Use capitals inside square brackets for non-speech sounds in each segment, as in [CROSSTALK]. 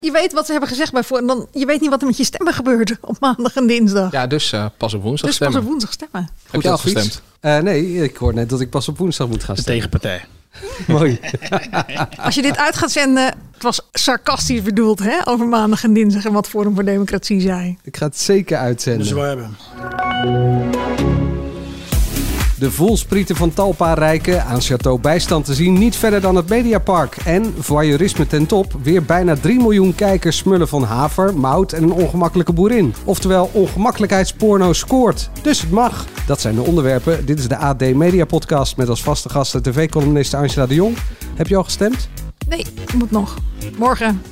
Je weet wat ze hebben gezegd bij voor. En dan, je weet niet wat er met je stemmen gebeurt op maandag en dinsdag. Ja, dus eh, pas op woensdag dus pas stemmen. op woensdag stemmen. Heb je al gestemd? Eh, nee, ik hoor net dat ik pas op woensdag moet gaan De stemmen. tegenpartij. [LAUGHS] Mooi. Als je dit uit gaat zenden. Het was sarcastisch bedoeld, hè? Over maandag en dinsdag en wat Forum voor Democratie zei. Ik ga het zeker uitzenden. Dus we hebben. De volsprieten van Talpa rijken aan Château Bijstand te zien niet verder dan het Mediapark. En voyeurisme ten top, weer bijna 3 miljoen kijkers smullen van haver, mout en een ongemakkelijke boerin. Oftewel, ongemakkelijkheidsporno scoort. Dus het mag. Dat zijn de onderwerpen. Dit is de AD Media Podcast met als vaste gasten tv-columniste Angela de Jong. Heb je al gestemd? Nee, moet nog. Morgen.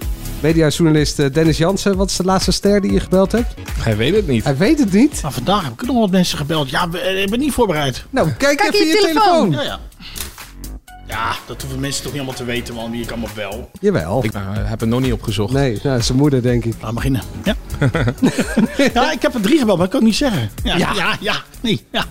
Mediajournalist eh, Dennis Jansen, wat is de laatste ster die je gebeld hebt? Hij weet het niet. Hij weet het niet. Maar vandaag heb ik ook nog wat mensen gebeld. Ja, we- eh, ik ben niet voorbereid. Nou, kijk, Kijk even in je je telefoon. telefoon. Ja, ja. Ja, dat hoeven mensen toch niet allemaal te weten, man. Wie ik allemaal wel. Jawel. Ik eh, heb het nog niet opgezocht. Nee, nou, zijn moeder denk ik. Laat beginnen. Ja. [LAUGHS] ja, ik heb er drie gebeld, maar ik kan het niet zeggen. Ja, ja, ja. nee, ja.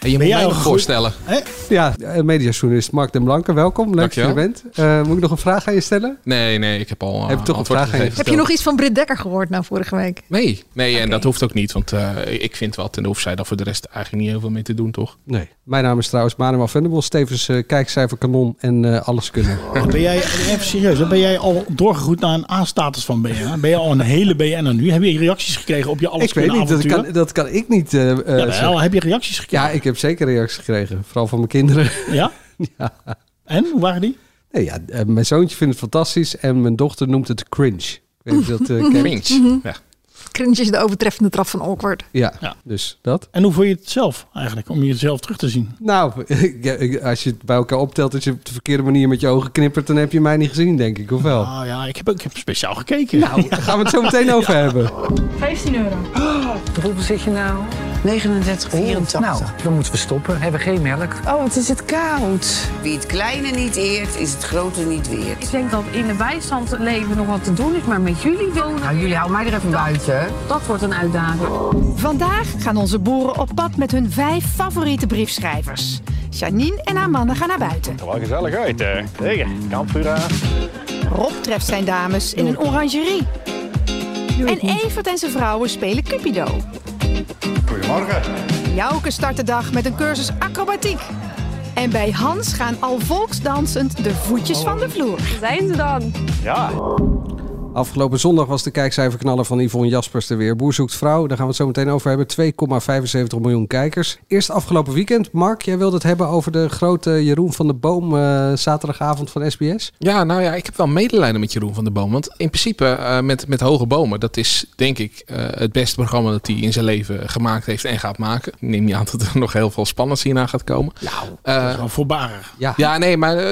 En je Ben moet jij mij al nog goed? voorstellen. Hè? Ja, eh, mediajournalist Mark den Blanke, welkom. Leuk dat je er Dankjewel. bent. Eh, moet ik nog een vraag aan je stellen? Nee, nee, ik heb al eh, Heb je toch een antwoord vraag aan je? gegeven. Heb je nog iets van Britt Dekker gehoord nou vorige week? Nee, nee en dat hoeft ook niet. Want eh, ik vind wat. En daar hoeft zij dan voor de rest eigenlijk niet heel veel mee te doen, toch? Nee. Mijn naam is trouwens Manuel Venderbos, Stevens eh, kijkcijfer kanon en eh, alles kunnen. Ben jij, even serieus, hè? ben jij al doorgegroeid naar een A-status van BNA? Ben je al een hele BNA nu? Heb je reacties gekregen op je alles ik weet niet, dat kan, dat kan ik niet. eh, eh, zeggen. Jawel, heb je reacties gekregen? ja, ik heb zeker reacties gekregen, vooral van mijn kinderen. [LAUGHS] Ja. En, hoe waren die? nee, ja, eh, mijn zoontje vindt het fantastisch en mijn dochter noemt het cringe. Ik weet niet of je dat eh, kent. Cringe. Ja. Cringe is de overtreffende trap van awkward. Ja, Ja. dus dat. En hoe vond je het zelf eigenlijk, om jezelf terug te zien? Nou, [LAUGHS] ja, ik- als je het bij elkaar optelt dat je op de verkeerde manier met je ogen knippert, dan heb je mij niet gezien, denk ik, of wel? Ah ja, ik heb, ook- ik heb speciaal gekeken. Nou, daar gaan we het zo [LAUGHS] meteen over hebben. 15 euro. Hoeveel zit je nou? 39,84. Nou, dan moeten we stoppen. Hebben we geen melk. Oh, het is het koud. Wie het kleine niet eert, is het grote niet weert. Ik denk dat in de bijstand leven nog wat te doen is, maar met jullie wonen, Nou, jullie houden mij er even buiten. hè? dat wordt een uitdaging. Vandaag gaan onze boeren op pad met hun vijf favoriete briefschrijvers. Janine en haar mannen gaan naar buiten. Wel gezellig uit, hè? Tegen, kampvuur aan. Rob treft zijn dames in een orangerie. En Evert en zijn vrouwen spelen Cupido. Goedemorgen. Jouke start de dag met een cursus acrobatiek. En bij Hans gaan al volksdansend de voetjes van de vloer. Zijn ze dan? Ja. Afgelopen zondag was de kijkcijferknaller van Yvonne Jaspers er weer. Boer zoekt vrouw, daar gaan we het zo meteen over hebben. 2,75 miljoen kijkers. Eerst afgelopen weekend. Mark, jij wilde het hebben over de grote Jeroen van de Boom eh, zaterdagavond van SBS. Ja, nou ja, ik heb wel medelijden met Jeroen van der Boom. Want in principe eh, met, met Hoge Bomen, dat is denk ik eh, het beste programma dat hij in zijn leven gemaakt heeft en gaat maken. Ik neem niet aan dat er nog heel veel spannends hierna gaat komen. Nou, Gewoon voorbarig. Ja, ja, nee, maar eh,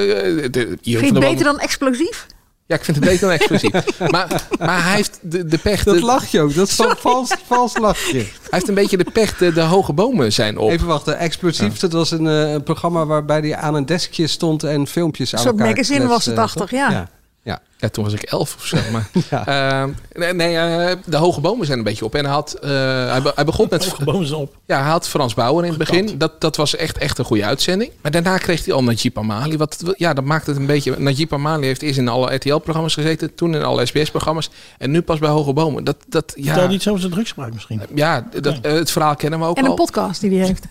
de- Jeroen van Vind je der het Boom... beter dan explosief? Ja, ik vind het beter dan explosief. maar, maar hij heeft de, de pech... dat de- lachje ook. Dat is zo'n vals, vals lachje. Hij heeft een beetje de pech, de, de hoge bomen zijn op. Even wachten. Explosief, dat was een, eh, een programma waarbij hij aan een deskje stond en filmpjes aan soort elkaar magazine kletste, was het, toch? dacht ik, ja. ja. Ja. Ja, toen was ik elf of zo. Maar, Ehm, nee, nee eh, de hoge bomen zijn een beetje op. En hij, had, eh, hij, be- hij begon met... Gewoon ze op. Ja, hij had Frans Bauer in het begin. Dat, dat was echt, echt een goede uitzending. Maar daarna kreeg hij al Najib Amali. Wat, wat- ja, dat maakt het een beetje... Najib Amali heeft eerst in alle RTL-programma's gezeten. Toen in alle SBS-programma's. En nu pas bij Hoge Bomen. Dat, dat, Vertel ja, niet zo over zijn drugsgebruik misschien. ja, dat, eh, het verhaal kennen we ook En al. een podcast die die heeft.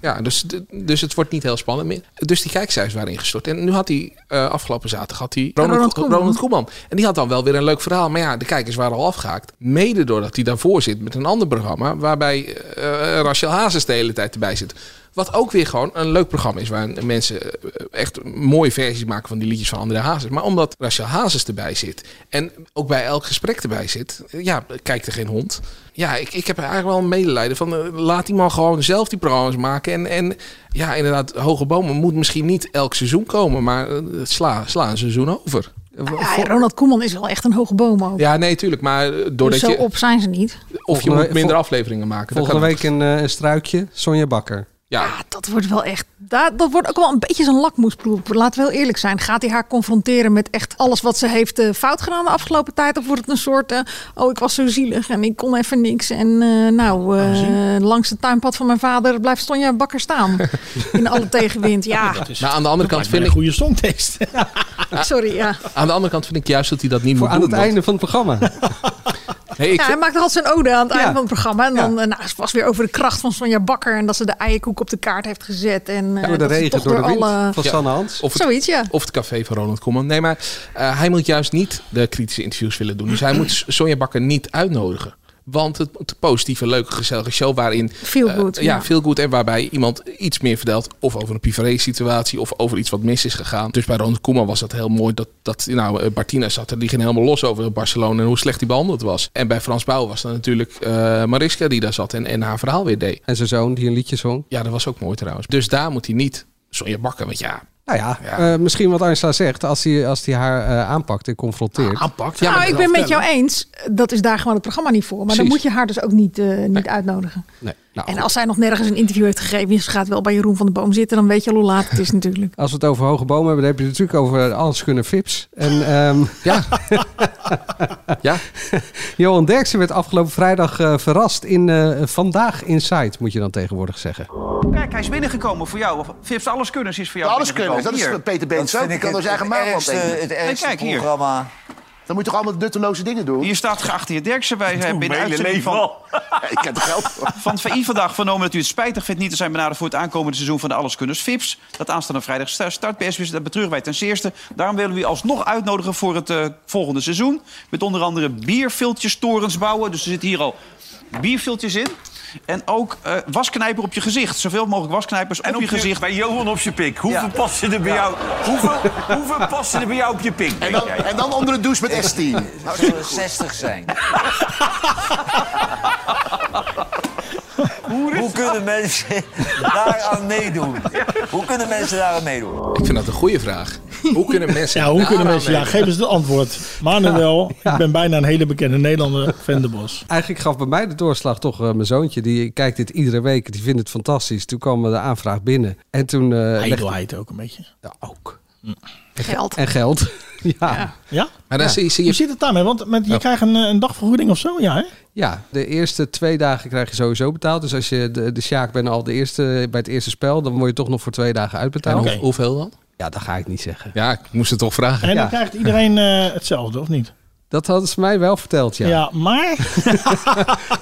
Ja, dus, dus het wordt niet heel spannend meer. Dus die kijkcijfers waren ingestort. En nu had hij eh, afgelopen zaterdag had hij Ronald, Ronald Ronald, Koeman. Koeman. En die had dan wel weer een leuk verhaal. Maar ja, de kijkers waren al afgehaakt. Mede doordat hij daarvoor zit met een ander programma... waarbij eh Rachel Hazes de hele tijd erbij zit. Wat ook weer gewoon een leuk programma is... waar mensen eh, echt mooie versies maken van die liedjes van André Hazes. Maar omdat Rachel Hazes erbij zit... en ook bij elk gesprek erbij zit... eh, ja, kijkt er geen hond. Ja, ik, ik heb er eigenlijk wel een medelijden van... eh, laat die man gewoon zelf die programma's maken. En, en ja, inderdaad, Hoge Bomen moet misschien niet elk seizoen komen... maar eh, sla, sla een seizoen over. Ja, Ronald Koeman is wel echt een hoge boom ook. Ja, nee, tuurlijk. Maar eh, doordat Dus zo je, op zijn ze niet. of je Volgende moet we- minder vol- afleveringen maken. dat Volgende kan week een, eh, een struikje, Sonja Bakker. Ja, Ja, Ah, dat wordt wel echt. Dat, dat wordt ook wel een beetje zo'n lakmoesproef. Laten we wel eerlijk zijn. Gaat hij haar confronteren met echt alles wat ze heeft eh, fout gedaan de afgelopen tijd? Of wordt het een soort. eh, oh, ik was zo zielig en ik kon even niks. En eh, nou, eh, langs het tuinpad van mijn vader blijft Sonja Bakker [LAUGHS] staan. In alle tegenwind. Ja, maar aan de andere kant Dat vind vind een ik... goede songtekst. sorry. Ja. Aan de andere kant vind ik juist dat hij dat niet Voor moet aan doen. het einde van het programma. want- nee, ik, Ja, Nou, hij maakt altijd zijn ode aan het Ja. einde van het programma. En Ja. dan eh, nou, het was weer over de kracht van Sonja Bakker. En dat ze de eierkoek op de kaart heeft gezet. En, eh, Door de dat ze regen, toch door de wind. alle- Van Ja. Sanne Hans. of, het, Zoiets, ja. of het café van Ronald Koeman. Nee, maar eh, hij moet juist niet de kritische interviews willen doen. Dus hij [CLEARS THROAT] moet Sonja Bakker niet uitnodigen. Want het moet een positieve, leuke, gezellige show waarin... Feel eh, good, ja, ja. feel good. En waarbij iemand iets meer vertelt. Of over een privé-situatie. Of over iets wat mis is gegaan. Dus bij Ronald Koeman was dat heel mooi. Dat, dat nou, eh, Martina zat er. Die ging helemaal los over Barcelona. En hoe slecht hij behandeld was. En bij Frans Bouw was dat natuurlijk eh, Mariska die daar zat. En, en haar verhaal weer deed. En zijn zoon die een liedje zong. Ja, dat was ook mooi trouwens. Dus daar moet hij niet Sonja Bakker, want ja... Nou ja, Ja. eh, misschien wat Angela zegt. Als hij, als hij haar eh, aanpakt en confronteert. Aanpakt. Ja, nou, ik ben met jou eens. Dat is daar gewoon het programma niet voor. Maar dan moet Precies. je haar dus ook niet, eh, niet uitnodigen. nee. nou, En als zij nog nergens een interview heeft gegeven, en ze gaat wel bij Jeroen van de Boom zitten, dan weet je al hoe [LAUGHS] laat het is natuurlijk. Als we het over hoge bomen hebben, dan heb je het natuurlijk over alles kunnen fips. En ehm, [LAUGHS] Ja, Johan Derksen werd afgelopen vrijdag eh, verrast in eh, Vandaag Inside, moet je dan tegenwoordig zeggen. Kijk, hij is binnengekomen voor jou. Vips Alleskunners is voor jou Alles kunnen, dat is binnengekomen. wat Peter Beens ook. Die kan door zijn eigen maat wel tegen. Hier. Nee, kijk hier. Dan moet je toch allemaal nutteloze dingen doen? Hier staat geachte heer Derksen. Wij hebben in de uitzending leven van, Ja, ik heb er geld voor. [LAUGHS] van het VI vandaag vernomen dat u het spijtig vindt... niet te zijn benaderd voor het aankomende seizoen van de Alleskunners Vips. Dat aanstaande vrijdag sta- start bij SBS. Dat betreuren wij ten zeerste. Daarom willen we u alsnog uitnodigen voor het eh, volgende seizoen. Met onder andere bierviltjes torens bouwen. Dus er zitten hier al bierviltjes in. En ook eh, wasknijper op je gezicht. Zoveel mogelijk wasknijpers op, je gezicht. Bij Johan op je pik. Hoeveel Ja. passen er bij jou? Hoeveel, hoeveel passen er bij jou op je pik? En dan, en dan onder de douche met S10. Het zullen 60 zijn. Hoe kunnen mensen daaraan meedoen? Hoe kunnen mensen daaraan meedoen? ik vind dat een goede vraag. Hoe [LAUGHS] kunnen mensen... Ja, hoe daar kunnen aan mensen... Ja, meedoen? geef eens het antwoord. Manuel, ik ben bijna een hele bekende Nederlander, Venderbos. Eigenlijk gaf bij mij de doorslag toch eh, mijn zoontje. Die kijkt dit iedere week, die vindt het fantastisch. Toen kwam eh, de aanvraag binnen. En toen... eh, legde- Ijdelheid ook een beetje. Ja, ook. Geld. En geld. [LAUGHS] ja. ja. Ja? Maar dan zie je... Zie Hoe je zit het daarmee? Want met, je Ja. krijgt een, eh, een dagvergoeding of zo, ja hè? de eerste twee dagen krijg je sowieso betaald. Dus als je de, de Sjaak bent al de eerste, bij het eerste spel, dan word je toch nog voor twee dagen en uitbetaald. hoe- Oké. hoeveel dan? Ja, dat ga ik niet zeggen. Ja, ik moest het toch vragen. En Ja. dan krijgt iedereen eh, hetzelfde, of niet? Dat hadden ze mij wel verteld, ja. Ja, maar [LAUGHS]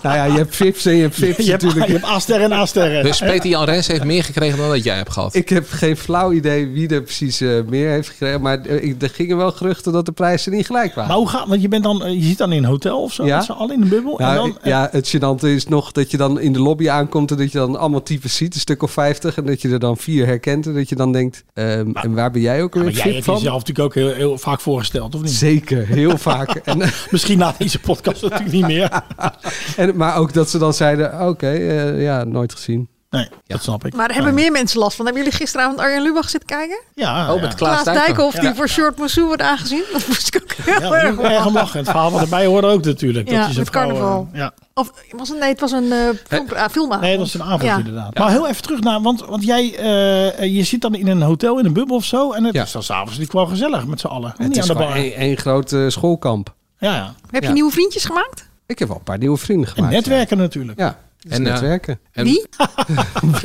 Nou ja, je hebt vips en je hebt vips [LAUGHS] je hebt, natuurlijk. je hebt A-sterren en A-sterren. Dus Peter Jan Rens heeft meer gekregen dan dat jij hebt gehad. Ik heb geen flauw idee wie er precies eh, meer heeft gekregen. Maar eh, ik- er gingen wel geruchten dat de prijzen niet gelijk waren. Maar hoe gaat... Want je, bent dan, eh, je zit dan in een hotel of zo, Ja. met z'n allen in de bubbel. Nou, en dan, ik- ja, het gênante is nog dat je dan in de lobby aankomt en dat je dan allemaal types ziet, een stuk of 50, En dat je er dan vier herkent en dat je dan denkt, ehm, en waar ben jij ook Ja, weer maar jij hebt vip jezelf van? natuurlijk ook heel, heel vaak voorgesteld, of niet? Zeker, [LAUGHS] heel vaak. En, Misschien na deze podcast natuurlijk niet meer. en, maar ook dat ze dan zeiden, oké, eh, ja, nooit gezien. Nee, dat snap ik. Maar er hebben Ah. meer mensen last van. Hebben jullie gisteravond Arjen Lubach zitten kijken? Ja, Oh, ja. met Klaas Klaas Dijkhoff. Dijkhoff, die voor Short Massou wordt aangezien. [LAUGHS] Dat moest ik ook Ja, heel daar erg moet ik erg om lachen. lachen. Het verhaal wat erbij hoorde ook natuurlijk. Ja, dat hij zijn met vrouw, carnaval. eh, ja. Of, was het, nee, het was een eh film, ah, filmavond. Nee, dat is een avond Ja. inderdaad. Maar heel even terug naar, want, want jij eh, je zit dan in een hotel in een bubbel of zo. En het Ja. is dan s'avonds natuurlijk wel gezellig met z'n allen. Het niet aan is de gewoon bar. één één groot eh, schoolkamp. Ja, ja. Heb je Ja. nieuwe vriendjes gemaakt? Ik heb al een paar nieuwe vrienden En gemaakt. netwerken natuurlijk. Ja, en En, eh, netwerken. En- Wie?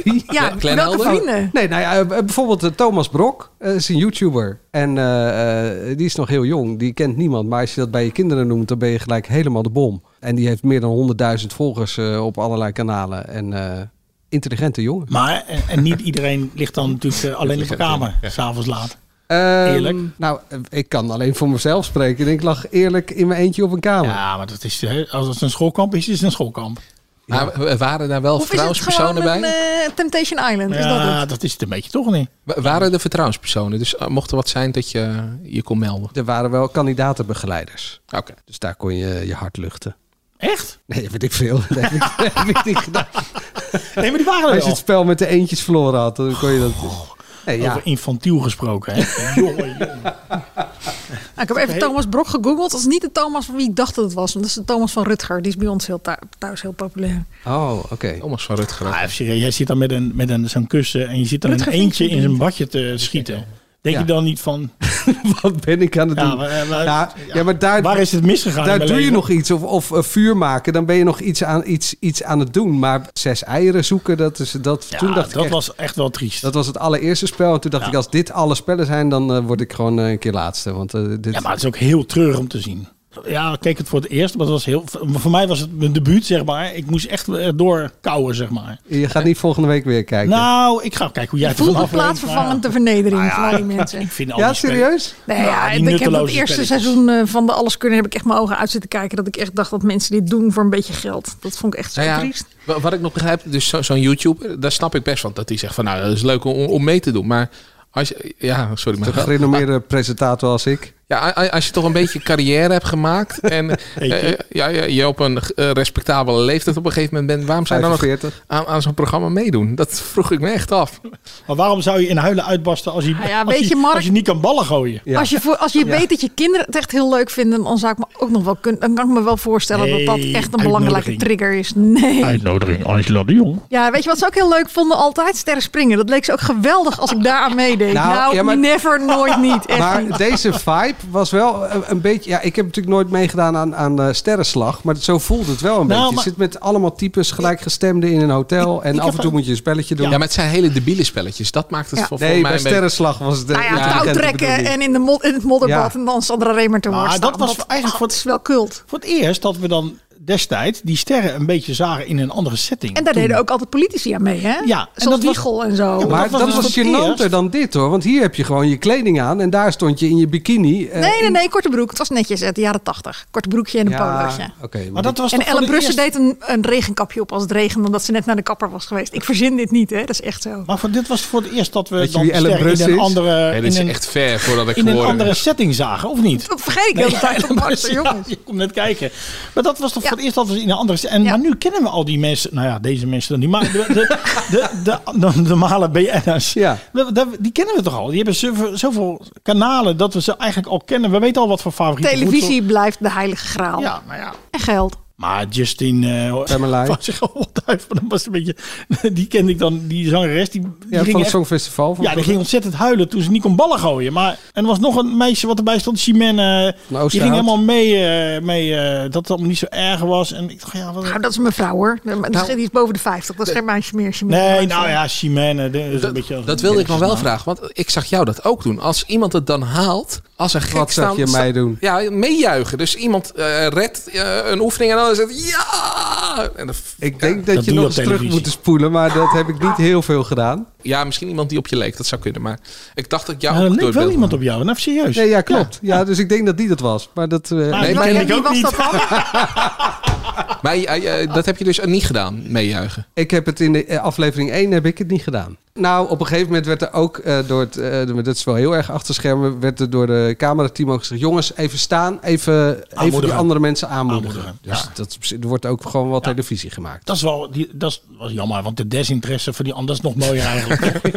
Wie? Ja, Glenn welke Helder? vrienden? Nee, nou ja, eh, bijvoorbeeld eh, Thomas Brok eh, is een YouTuber. En eh, eh, die is nog heel jong, die kent niemand. Maar als je dat bij je kinderen noemt, dan ben je gelijk helemaal de bom. En die heeft meer dan 100.000 volgers eh, op allerlei kanalen. En eh, intelligente jongen. Maar, en, en niet iedereen ligt dan natuurlijk [LAUGHS] eh, alleen op de kamer, s'avonds laat. Ehm, Eerlijk? Nou, eh, ik kan alleen voor mezelf spreken. En ik lag eerlijk in mijn eentje op een kamer. Ja, maar dat is, eh, als het een schoolkamp is, is het een schoolkamp. Maar we- waren daar wel Of is het gewoon vertrouwenspersonen een bij? eh, Temptation Island? Is dat Ja, het? dat is het een beetje toch niet. Wa- Waren er vertrouwenspersonen? Dus eh, mocht er wat zijn dat je je kon melden? Er waren wel kandidatenbegeleiders. Oké. Dus daar kon je je hart luchten. Echt? Nee, dat weet ik veel. [LAUGHS] Dat heb ik, dat heb ik niet [LAUGHS] gedaan. Oh, Nee, maar die waren er Als je wel. het spel met de eentjes verloren had, Oh. dan kon je dat... Nee, ja. Over infantiel gesproken. Hè? jongen, jongen. Nou, ik heb even Oké. Thomas Brok gegoogeld. Dat is niet de Thomas van wie ik dacht dat het was. want Dat is de Thomas van Rutger. Die is bij ons heel thu- thuis heel populair. Oh, oké. [LAUGHS] Thomas van Rutger. Ah, even serieus, jij zit dan met, een, met een, zo'n kussen en je zit dan in Rutger eentje Vriend in zijn badje te schieten. Denk Ja. je dan niet van, Wat ben ik aan het Ja, doen? maar, eh, maar- ja, ja, maar daar, waar is het misgegaan in Daar mijn doe je leven? nog iets. Of, of eh, vuur maken, dan ben je nog iets aan, iets, iets aan het doen. Maar zes eieren zoeken, dat is, dat, ja, toen dacht dat ik echt, was echt wel triest. dat was het allereerste spel. En toen dacht Ja. ik, als dit alle spellen zijn, dan eh, word ik gewoon eh, een keer laatste. Want, eh, dit... Ja, maar het is ook heel treurig om te zien. Ja, ik keek het voor het eerst, maar dat was heel, voor mij was het mijn debuut, zeg maar. Ik moest echt eh, door kouwen, zeg maar. Je gaat niet volgende week weer kijken. Nou, ik ga kijken hoe jij Je het voelt ervan de afleest, plaatsvervangende Nou vernedering van al die [LAUGHS] mensen. maar Ik vind al ja, die spellen- serieus? Nee, Nou, ja, die en ik heb het nutteloze eerste spelletjes. seizoen eh, van de Alles Kunnen... heb ik echt mijn ogen uit zitten kijken. Dat ik echt dacht dat mensen dit doen voor een beetje geld. Dat vond ik echt zo Nou ja, triest. wa- wat ik nog begrijp, dus zo- zo'n YouTuber, daar snap ik best van. Dat die zegt van, nou, dat is leuk om, om mee te doen. Maar als je, ja, sorry, Een maar gerenommeerde presentator als ik. Ja, a- a- als je toch een beetje carrière hebt gemaakt [LAUGHS] en eh, ja, ja, je op een eh, respectabele leeftijd op een gegeven moment bent, waarom zou je dan nog 45. aan, aan zo'n programma meedoen? Dat vroeg ik me echt af. Maar waarom zou je in huilen uitbarsten als je, Nou ja, als weet je, je, Mark- als je niet kan ballen gooien? Ja. Als je, voor, als je weet dat je kinderen het echt heel leuk vinden... dan, zou ik me ook nog wel kunnen, dan kan ik me wel voorstellen dat dat Nee, echt een belangrijke uitnodiging. trigger is. Nee. Uitnodiging Angela de Jong. Ja, weet je wat ze ook heel leuk vonden? Altijd sterren springen. Dat leek ze ook geweldig als ik daaraan meedeed. Nou, Nou, ja, maar- never, nooit, niet. Echt niet. Maar deze vibe was wel eh, een beetje. Ja, ik heb natuurlijk nooit meegedaan aan, aan eh, Sterrenslag. Maar zo voelde het wel een Nou, beetje. maar- Je zit met allemaal types gelijkgestemden in een hotel. en ik af heb en toe een- moet je een spelletje doen. Ja, maar het zijn hele debiele spelletjes. Dat maakt het Ja. voor, voor mij nee, bij een beetje... Sterrenslag was het. eh, Nou ja, de touw bekende trekken bedoeling. en in, de mod- in het modderbad Ja. en dan Sandra Remer te Maar worden. Ah, dat was eigenlijk voor- het is wel kult. Voor het eerst dat we dan destijds die sterren een beetje zagen in een andere setting. En daar Toen- deden ook altijd politici aan mee, hè? Ja, en Zoals dat was- Wiegel en zo. Ja, Maar dat was dat dus was voor het gênanter eerst. dan dit hoor. Want hier heb je gewoon je kleding aan. En daar stond je in je bikini. eh, nee, nee, in- nee, korte broek. Het was netjes uit de jaren tachtig. Korte broekje en een polootje. Ja, oké. Maar maar dat was En toch voor Ellen het Brussen eerst- deed een, een regenkapje op als het regende... omdat ze net naar de kapper was geweest. Ik verzin dit niet, hè? Dat is echt zo. Maar voor dit was voor het eerst dat we Weet je dan wie de Ellen sterren in Brussen een is? andere, Nee, dit in is een, echt ver voordat ik in een geworden andere ben. setting zagen, of niet? [LAUGHS] Dat vergeet ik de [LAUGHS] hele tijd. Ellen Marse, Brussen, ja, jongens. je komt net kijken. Maar dat was toch Ja. voor het eerst dat we in een andere... En, Ja. Maar nu kennen we al die mensen... Nou ja, deze mensen dan niet. Maar de, de, de, de, de normale BN'ers, Ja. we- dat- die kennen we toch al? Die hebben zoveel, zoveel kanalen dat we ze eigenlijk al kennen. We weten al wat voor favoriete voedsel- Televisie blijft de heilige graal. Ja, maar ja. En geld. Maar Justin eh [LAUGHS] Tamerlei. was zich al wat uit, maar dat was een beetje. [LAUGHS] Die kende ik dan, die zangeres. Die, die ja, ging van het echt- Songfestival. Van ja, die ging ontzettend huilen toen ze niet kon ballen gooien. Maar, en er was nog een meisje wat erbij stond, Chimène. eh, Oosterhout. die ging helemaal mee, eh, mee eh, dat het allemaal niet zo erg was. En ik dacht, ja, wat... Nou, dat is mijn vrouw, hoor. Maar dat is- Die is boven de 50. Dat is geen meisje meer. als je Nee, meer- nou ja, Chimène. Dat, is een beetje als Dat, een dat wilde ik nog wel kerstnaam. vragen, want ik zag jou dat ook doen. Als iemand het dan haalt, als een gek Wat zag staan- je mij doen? Ja, meejuichen. Dus iemand eh, redt eh, een oefening en dan zegt hij, ja! En dan- Ik denk Dat dat, je doe je nog op eens terug televisie. moet spoelen. Maar dat heb ik niet heel veel gedaan. ja, misschien iemand die op je leek, dat zou kunnen. Maar ik dacht dat ik jou Nou, ook er door leek wel wilde iemand op jou, nou serieus. Nee, ja, klopt. Ja. dus ik denk dat die dat was. Maar dat. eh, Nou. Maar Nee, die maar- kende ik Wie ook was dat niet. dan? Maar eh, eh, dat heb je dus niet gedaan, meejuichen. Ik heb het in de eh, aflevering 1 heb ik het niet gedaan. Nou, op een gegeven moment werd er ook eh, door het, eh, dat is wel heel erg achter schermen, werd er door de camerateam ook gezegd: jongens, even staan, even, even die Aanmoedigen. andere mensen aanmoedigen. Aanmoedigen, Dus dat, is- er wordt ook gewoon wat televisie [LAUGHS] gemaakt. Dat is wel, die, dat is, was jammer, want de desinteresse van die ander is nog mooier [LAUGHS] eigenlijk.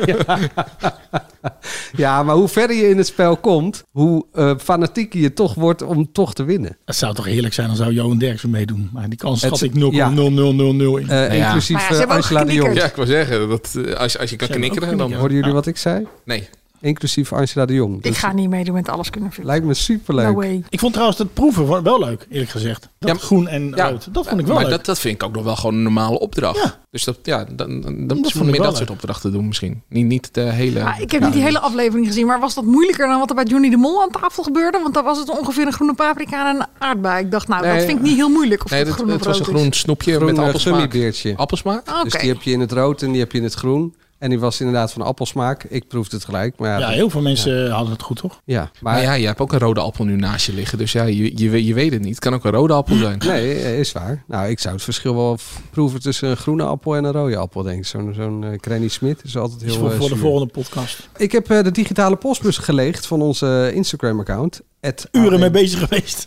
Ja, maar hoe verder je in het spel komt, hoe eh fanatieker je toch wordt om toch te winnen. Het zou toch heerlijk zijn, dan zou Johan Derksen meedoen. Maar die kans Het- schat ik 0,0000 ja. in. Eh, ja. Inclusief Maar ja, ze eh, hebben ook Angela de Jong. geknikkerd. Ja, ik wil zeggen, dat, eh, als, je- als je kan Zijn we knikkeren, ook dan... knikkeren? Hoorden jullie wat ik zei? Nee. Inclusief Angela de Jong. Ik Dus ga niet meedoen met alles kunnen vinden. Lijkt me superleuk. No way. Ik vond trouwens het proeven wel- wel leuk, eerlijk gezegd. Dat Ja, maar- groen en Ja, rood. Nou, Dat vond ik wel maar leuk. Dat, dat vind ik ook nog wel gewoon een normale opdracht. Ja. Dus dat, ja, dan, dan, dan vond moet ik je meer wel dat leuk. soort opdrachten doen misschien. Niet, niet de hele... Maar Ah, ik heb niet die hele aflevering gezien, maar was dat moeilijker dan wat er bij Johnny de Mol aan tafel gebeurde? Want daar was het ongeveer een groene paprika en een aardbei. Ik dacht, nou, Nee, dat vind ik niet heel moeilijk. Of Nee, dat dat, groen of het was een rood is. groen snoepje Groen, met eh, appelsmaak. gummibeertje. Appelsmaak? Oké. Dus die heb je in het rood en die heb je in het groen. En die was inderdaad van appelsmaak. Ik proefde het gelijk. Maar ja, ja, dat- heel veel mensen eh, hadden het goed, toch? ja. maar, Maar Ah, ja, je hebt ook een rode appel nu naast je liggen. Dus ja, je, je, weet- je weet het niet. Het kan ook een rode appel zijn. Nee, eh, is waar. Nou, ik zou het verschil wel f- proeven tussen een groene appel en een rode appel, denk ik. Zo'n zo'n eh, Granny Smith is altijd Dat is heel Dus voor, eh, voor de zuur. volgende podcast. Ik heb eh, de digitale postbus geleegd van onze Instagram-account. Het Uren mee bezig geweest.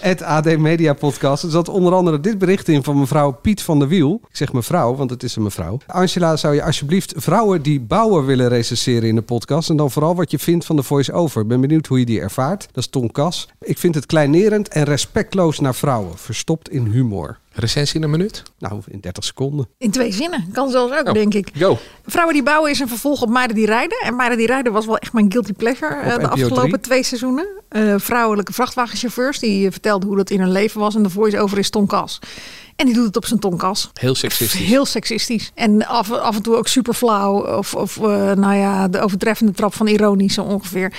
Het AD Media Podcast. Er zat onder andere dit bericht in van mevrouw Piet van der Wiel. Ik zeg mevrouw, want het is een mevrouw. Angela, zou je alsjeblieft vrouwen die bouwen willen recenseren in de podcast? En dan vooral wat je vindt van de voice-over. Ik ben benieuwd hoe je die ervaart. Dat is Ton Kas. Ik vind het kleinerend en respectloos naar vrouwen. Verstopt in humor. Recensie in een minuut? Nou, in 30 seconden. In twee zinnen. Kan zelfs ook, Oh, denk ik. Go. Vrouwen die bouwen is een vervolg op Meiden die rijden. En Meiden die rijden was wel echt mijn guilty pleasure eh, de NPO drie. afgelopen twee seizoenen. Eh, vrouwelijke vrachtwagenchauffeurs die eh, vertelden hoe dat in hun leven was. En de voice-over is Tonkas. En die doet het op zijn Tonkas. Heel seksistisch. Heel seksistisch. En af, af en toe ook super flauw. Of, of eh, nou ja, de overtreffende trap van ironisch zo ongeveer.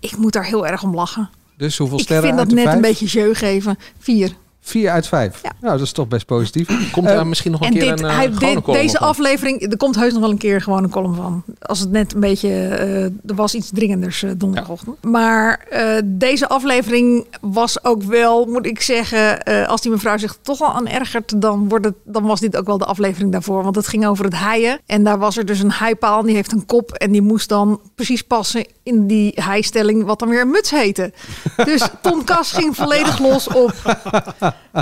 Ik moet daar heel erg om lachen. Dus hoeveel Ik sterren vind uit de dat net vijf? een beetje jeu geven. Vier. 4 uit 5. Nou, dat is toch best positief. Komt Eh, daar misschien nog een Ehm, En keer dit, een eh, hij- gewone dit- column deze op? aflevering, er komt heus nog wel een keer gewoon een column van. Als het net een beetje, eh, er was iets dringenders eh, donderdagochtend. Maar eh, deze aflevering was ook wel, moet ik zeggen, eh, als die mevrouw zich toch al aan ergert, dan, wordt het, dan was dit ook wel de aflevering daarvoor. Want het ging over het heien. En daar was er dus een heipaal en die heeft een kop. En die moest dan precies passen in die heistelling, wat dan weer een muts heette. [LAUGHS] Dus Ton Kas ging volledig los op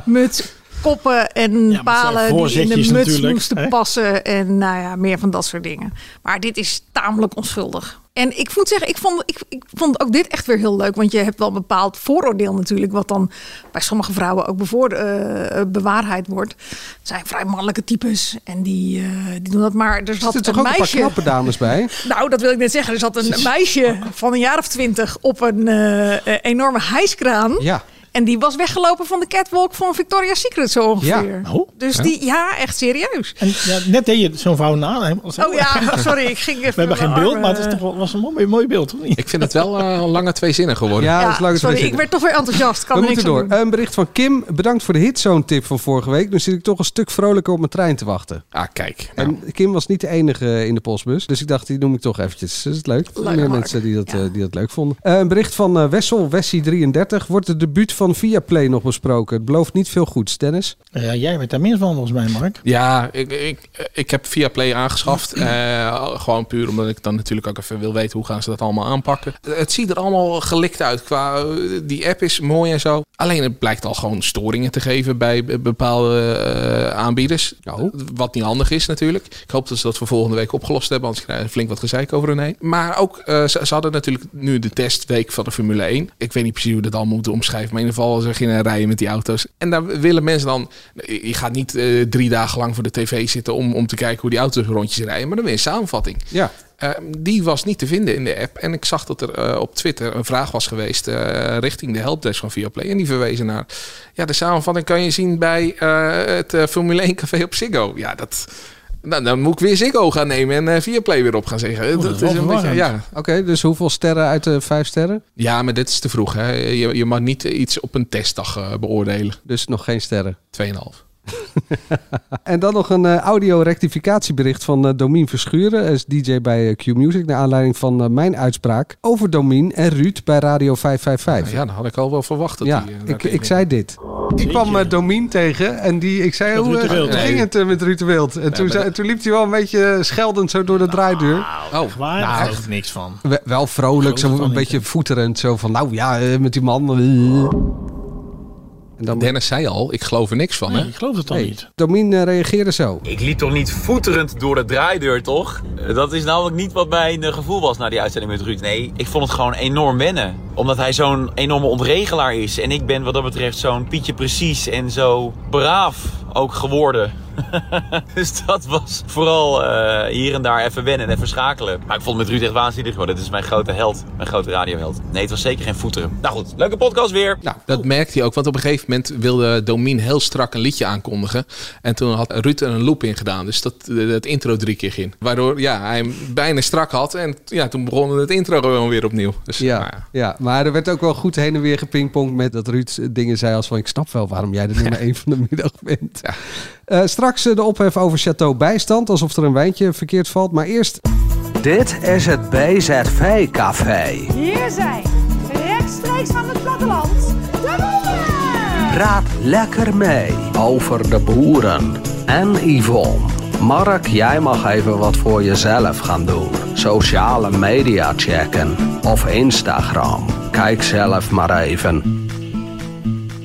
muts, koppen en palen die in de voorzetjes muts natuurlijk, moesten hè? passen. En nou ja, meer van dat soort dingen. Maar dit is tamelijk onschuldig. En ik moet zeggen, ik vond, ik, ik vond ook dit echt weer heel leuk. Want je hebt wel een bepaald vooroordeel natuurlijk. Wat dan bij sommige vrouwen ook bevoor, eh, eh, bewaarheid wordt. Het zijn vrij mannelijke types. En die, eh, die doen dat maar. Er Er zat zitten toch een ook een paar meisje. knappe dames [LAUGHS] bij? Nou, dat wil ik net zeggen. Er zat een meisje van een jaar of twintig op een eh, eh, enorme hijskraan. Ja. En die was weggelopen van de catwalk van Victoria's Secret zo ongeveer. Ja. Oh. Dus Ja. die, ja, echt serieus. En ja, net deed je zo'n vrouw na. hè? Als- Oh ja, [LAUGHS] sorry, ik ging [LAUGHS] even... We hebben geen mijn beeld, armen- maar het is toch wel, was een mooi, mooi beeld, of niet? Ik vind het wel eh, een lange twee zinnen geworden. Ja, dat is leuk. sorry, ik werd toch weer enthousiast. Kan We er niks moeten door. aan doen. Een bericht van Kim. Bedankt voor de hitzone tip van vorige week. Nu zit ik toch een stuk vrolijker op mijn trein te wachten. Ah, kijk. En Kim was niet de enige in de postbus. Dus ik dacht, die noem ik toch eventjes. Dat is leuk. Leuk, Meer Mark. mensen die dat, eh, die dat leuk vonden. Eh, een bericht van eh, Wessel, Wessie33. Wordt het debuut van Viaplay nog besproken? Het belooft niet veel goeds, Dennis. Ja, jij weet daar meer van, volgens mij, Mark. Ja, ik, ik, ik heb via Play aangeschaft. Eh, gewoon puur omdat ik dan natuurlijk ook even wil weten hoe gaan ze dat allemaal aanpakken. Het ziet er allemaal gelikt uit. Qua, eh, die app is mooi en zo. Alleen het blijkt al gewoon storingen te geven bij be- bepaalde eh, aanbieders. Nou. Wat niet handig is natuurlijk. Ik hoop dat ze dat voor volgende week opgelost hebben. Anders krijgen we flink wat gezeik over hun heen. Maar ook, eh, ze, ze hadden natuurlijk nu de testweek van de Formule 1. Ik weet niet precies hoe we dat allemaal moeten omschrijven. Maar in ieder geval, ze gingen rijden met die auto's. En daar willen mensen dan... Je gaat niet eh, drie dagen lang voor de tv zitten om, om te kijken hoe die auto's rondjes rijden. Maar dan weer een samenvatting. Ja. Eh, die was niet te vinden in de app. En ik zag dat er eh, op Twitter een vraag was geweest eh, richting de helpdesk van Viaplay. En die verwezen naar ja, de samenvatting kan je zien bij eh, het eh, Formule 1 café op Ziggo. Ja, dat... Nou, dan moet ik weer Ziggo gaan nemen en eh Viaplay weer op gaan zeggen. Oh, dat is wel verwarrend. ja, Oké, dus hoeveel sterren uit de vijf sterren? ja, maar dit is te vroeg. Hè? Je, je mag niet eh, iets op een testdag eh, beoordelen. Dus nog geen sterren. 2,5. En dan nog een eh, audio-rectificatiebericht van eh Domien Verschuren. Hij is DJ bij eh, Q Music. Naar aanleiding van eh, mijn uitspraak over Domien en Ruud bij Radio 555. Nou Ja, dat had ik al wel verwacht. Dat Ja, die, eh, daar ik, tegen- ik zei dit. Ik kwam eh, Domien tegen en die, ik zei, Met hoe Ruud de eh, Wild. ging Nee. het eh, met Ruud de Wild? En toen, maar zei, dat- toen liep hij wel een beetje eh, scheldend zo door de draaideur. Oh, Waar? Daar geloof ik niks van. We- Wel vrolijk, zo een beetje voeterend. Zo van, nou ja, eh, met die man. eh. En dan, Dennis zei al, ik geloof er niks van. Nee, hè? ik geloof dat dan niet. Domien eh, reageerde zo. Ik liep toch niet voeterend door de draaideur, toch? Dat is namelijk niet wat mijn eh, gevoel was na die uitzending met Ruud. Nee, ik vond het gewoon enorm wennen. Omdat hij zo'n enorme ontregelaar is. En ik ben wat dat betreft zo'n Pietje precies en zo braaf ook geworden. [LAUGHS] dus dat was vooral eh, hier en daar even wennen en even schakelen. Maar ik vond het met Ruud echt waanzinnig geworden. Dit is mijn grote held, mijn grote radioheld. Nee, het was zeker geen voeteren. Nou goed, leuke podcast weer. Nou, Dat merkte hij ook, want op een gegeven moment wilde Domien heel strak een liedje aankondigen. En toen had Ruud er een loop in gedaan, dus dat, dat intro drie keer ging. Waardoor ja, hij hem bijna strak had en ja, toen begon het intro gewoon weer opnieuw. Dus, nou ja. Ja, maar er werd ook wel goed heen en weer gepingpongd met dat Ruud eh, dingen zei als van... ik snap wel waarom jij de nummer 1 van de middag bent. Eh, straks eh, de ophef over Chateau Bijstand, alsof er een wijntje verkeerd valt. Maar eerst... Dit is het BZV-café. Hier zijn, rechtstreeks van het platteland, de boeren! Praat lekker mee over de boeren en Yvonne. Mark, jij mag even wat voor jezelf gaan doen. Sociale media checken of Instagram. Kijk zelf maar even.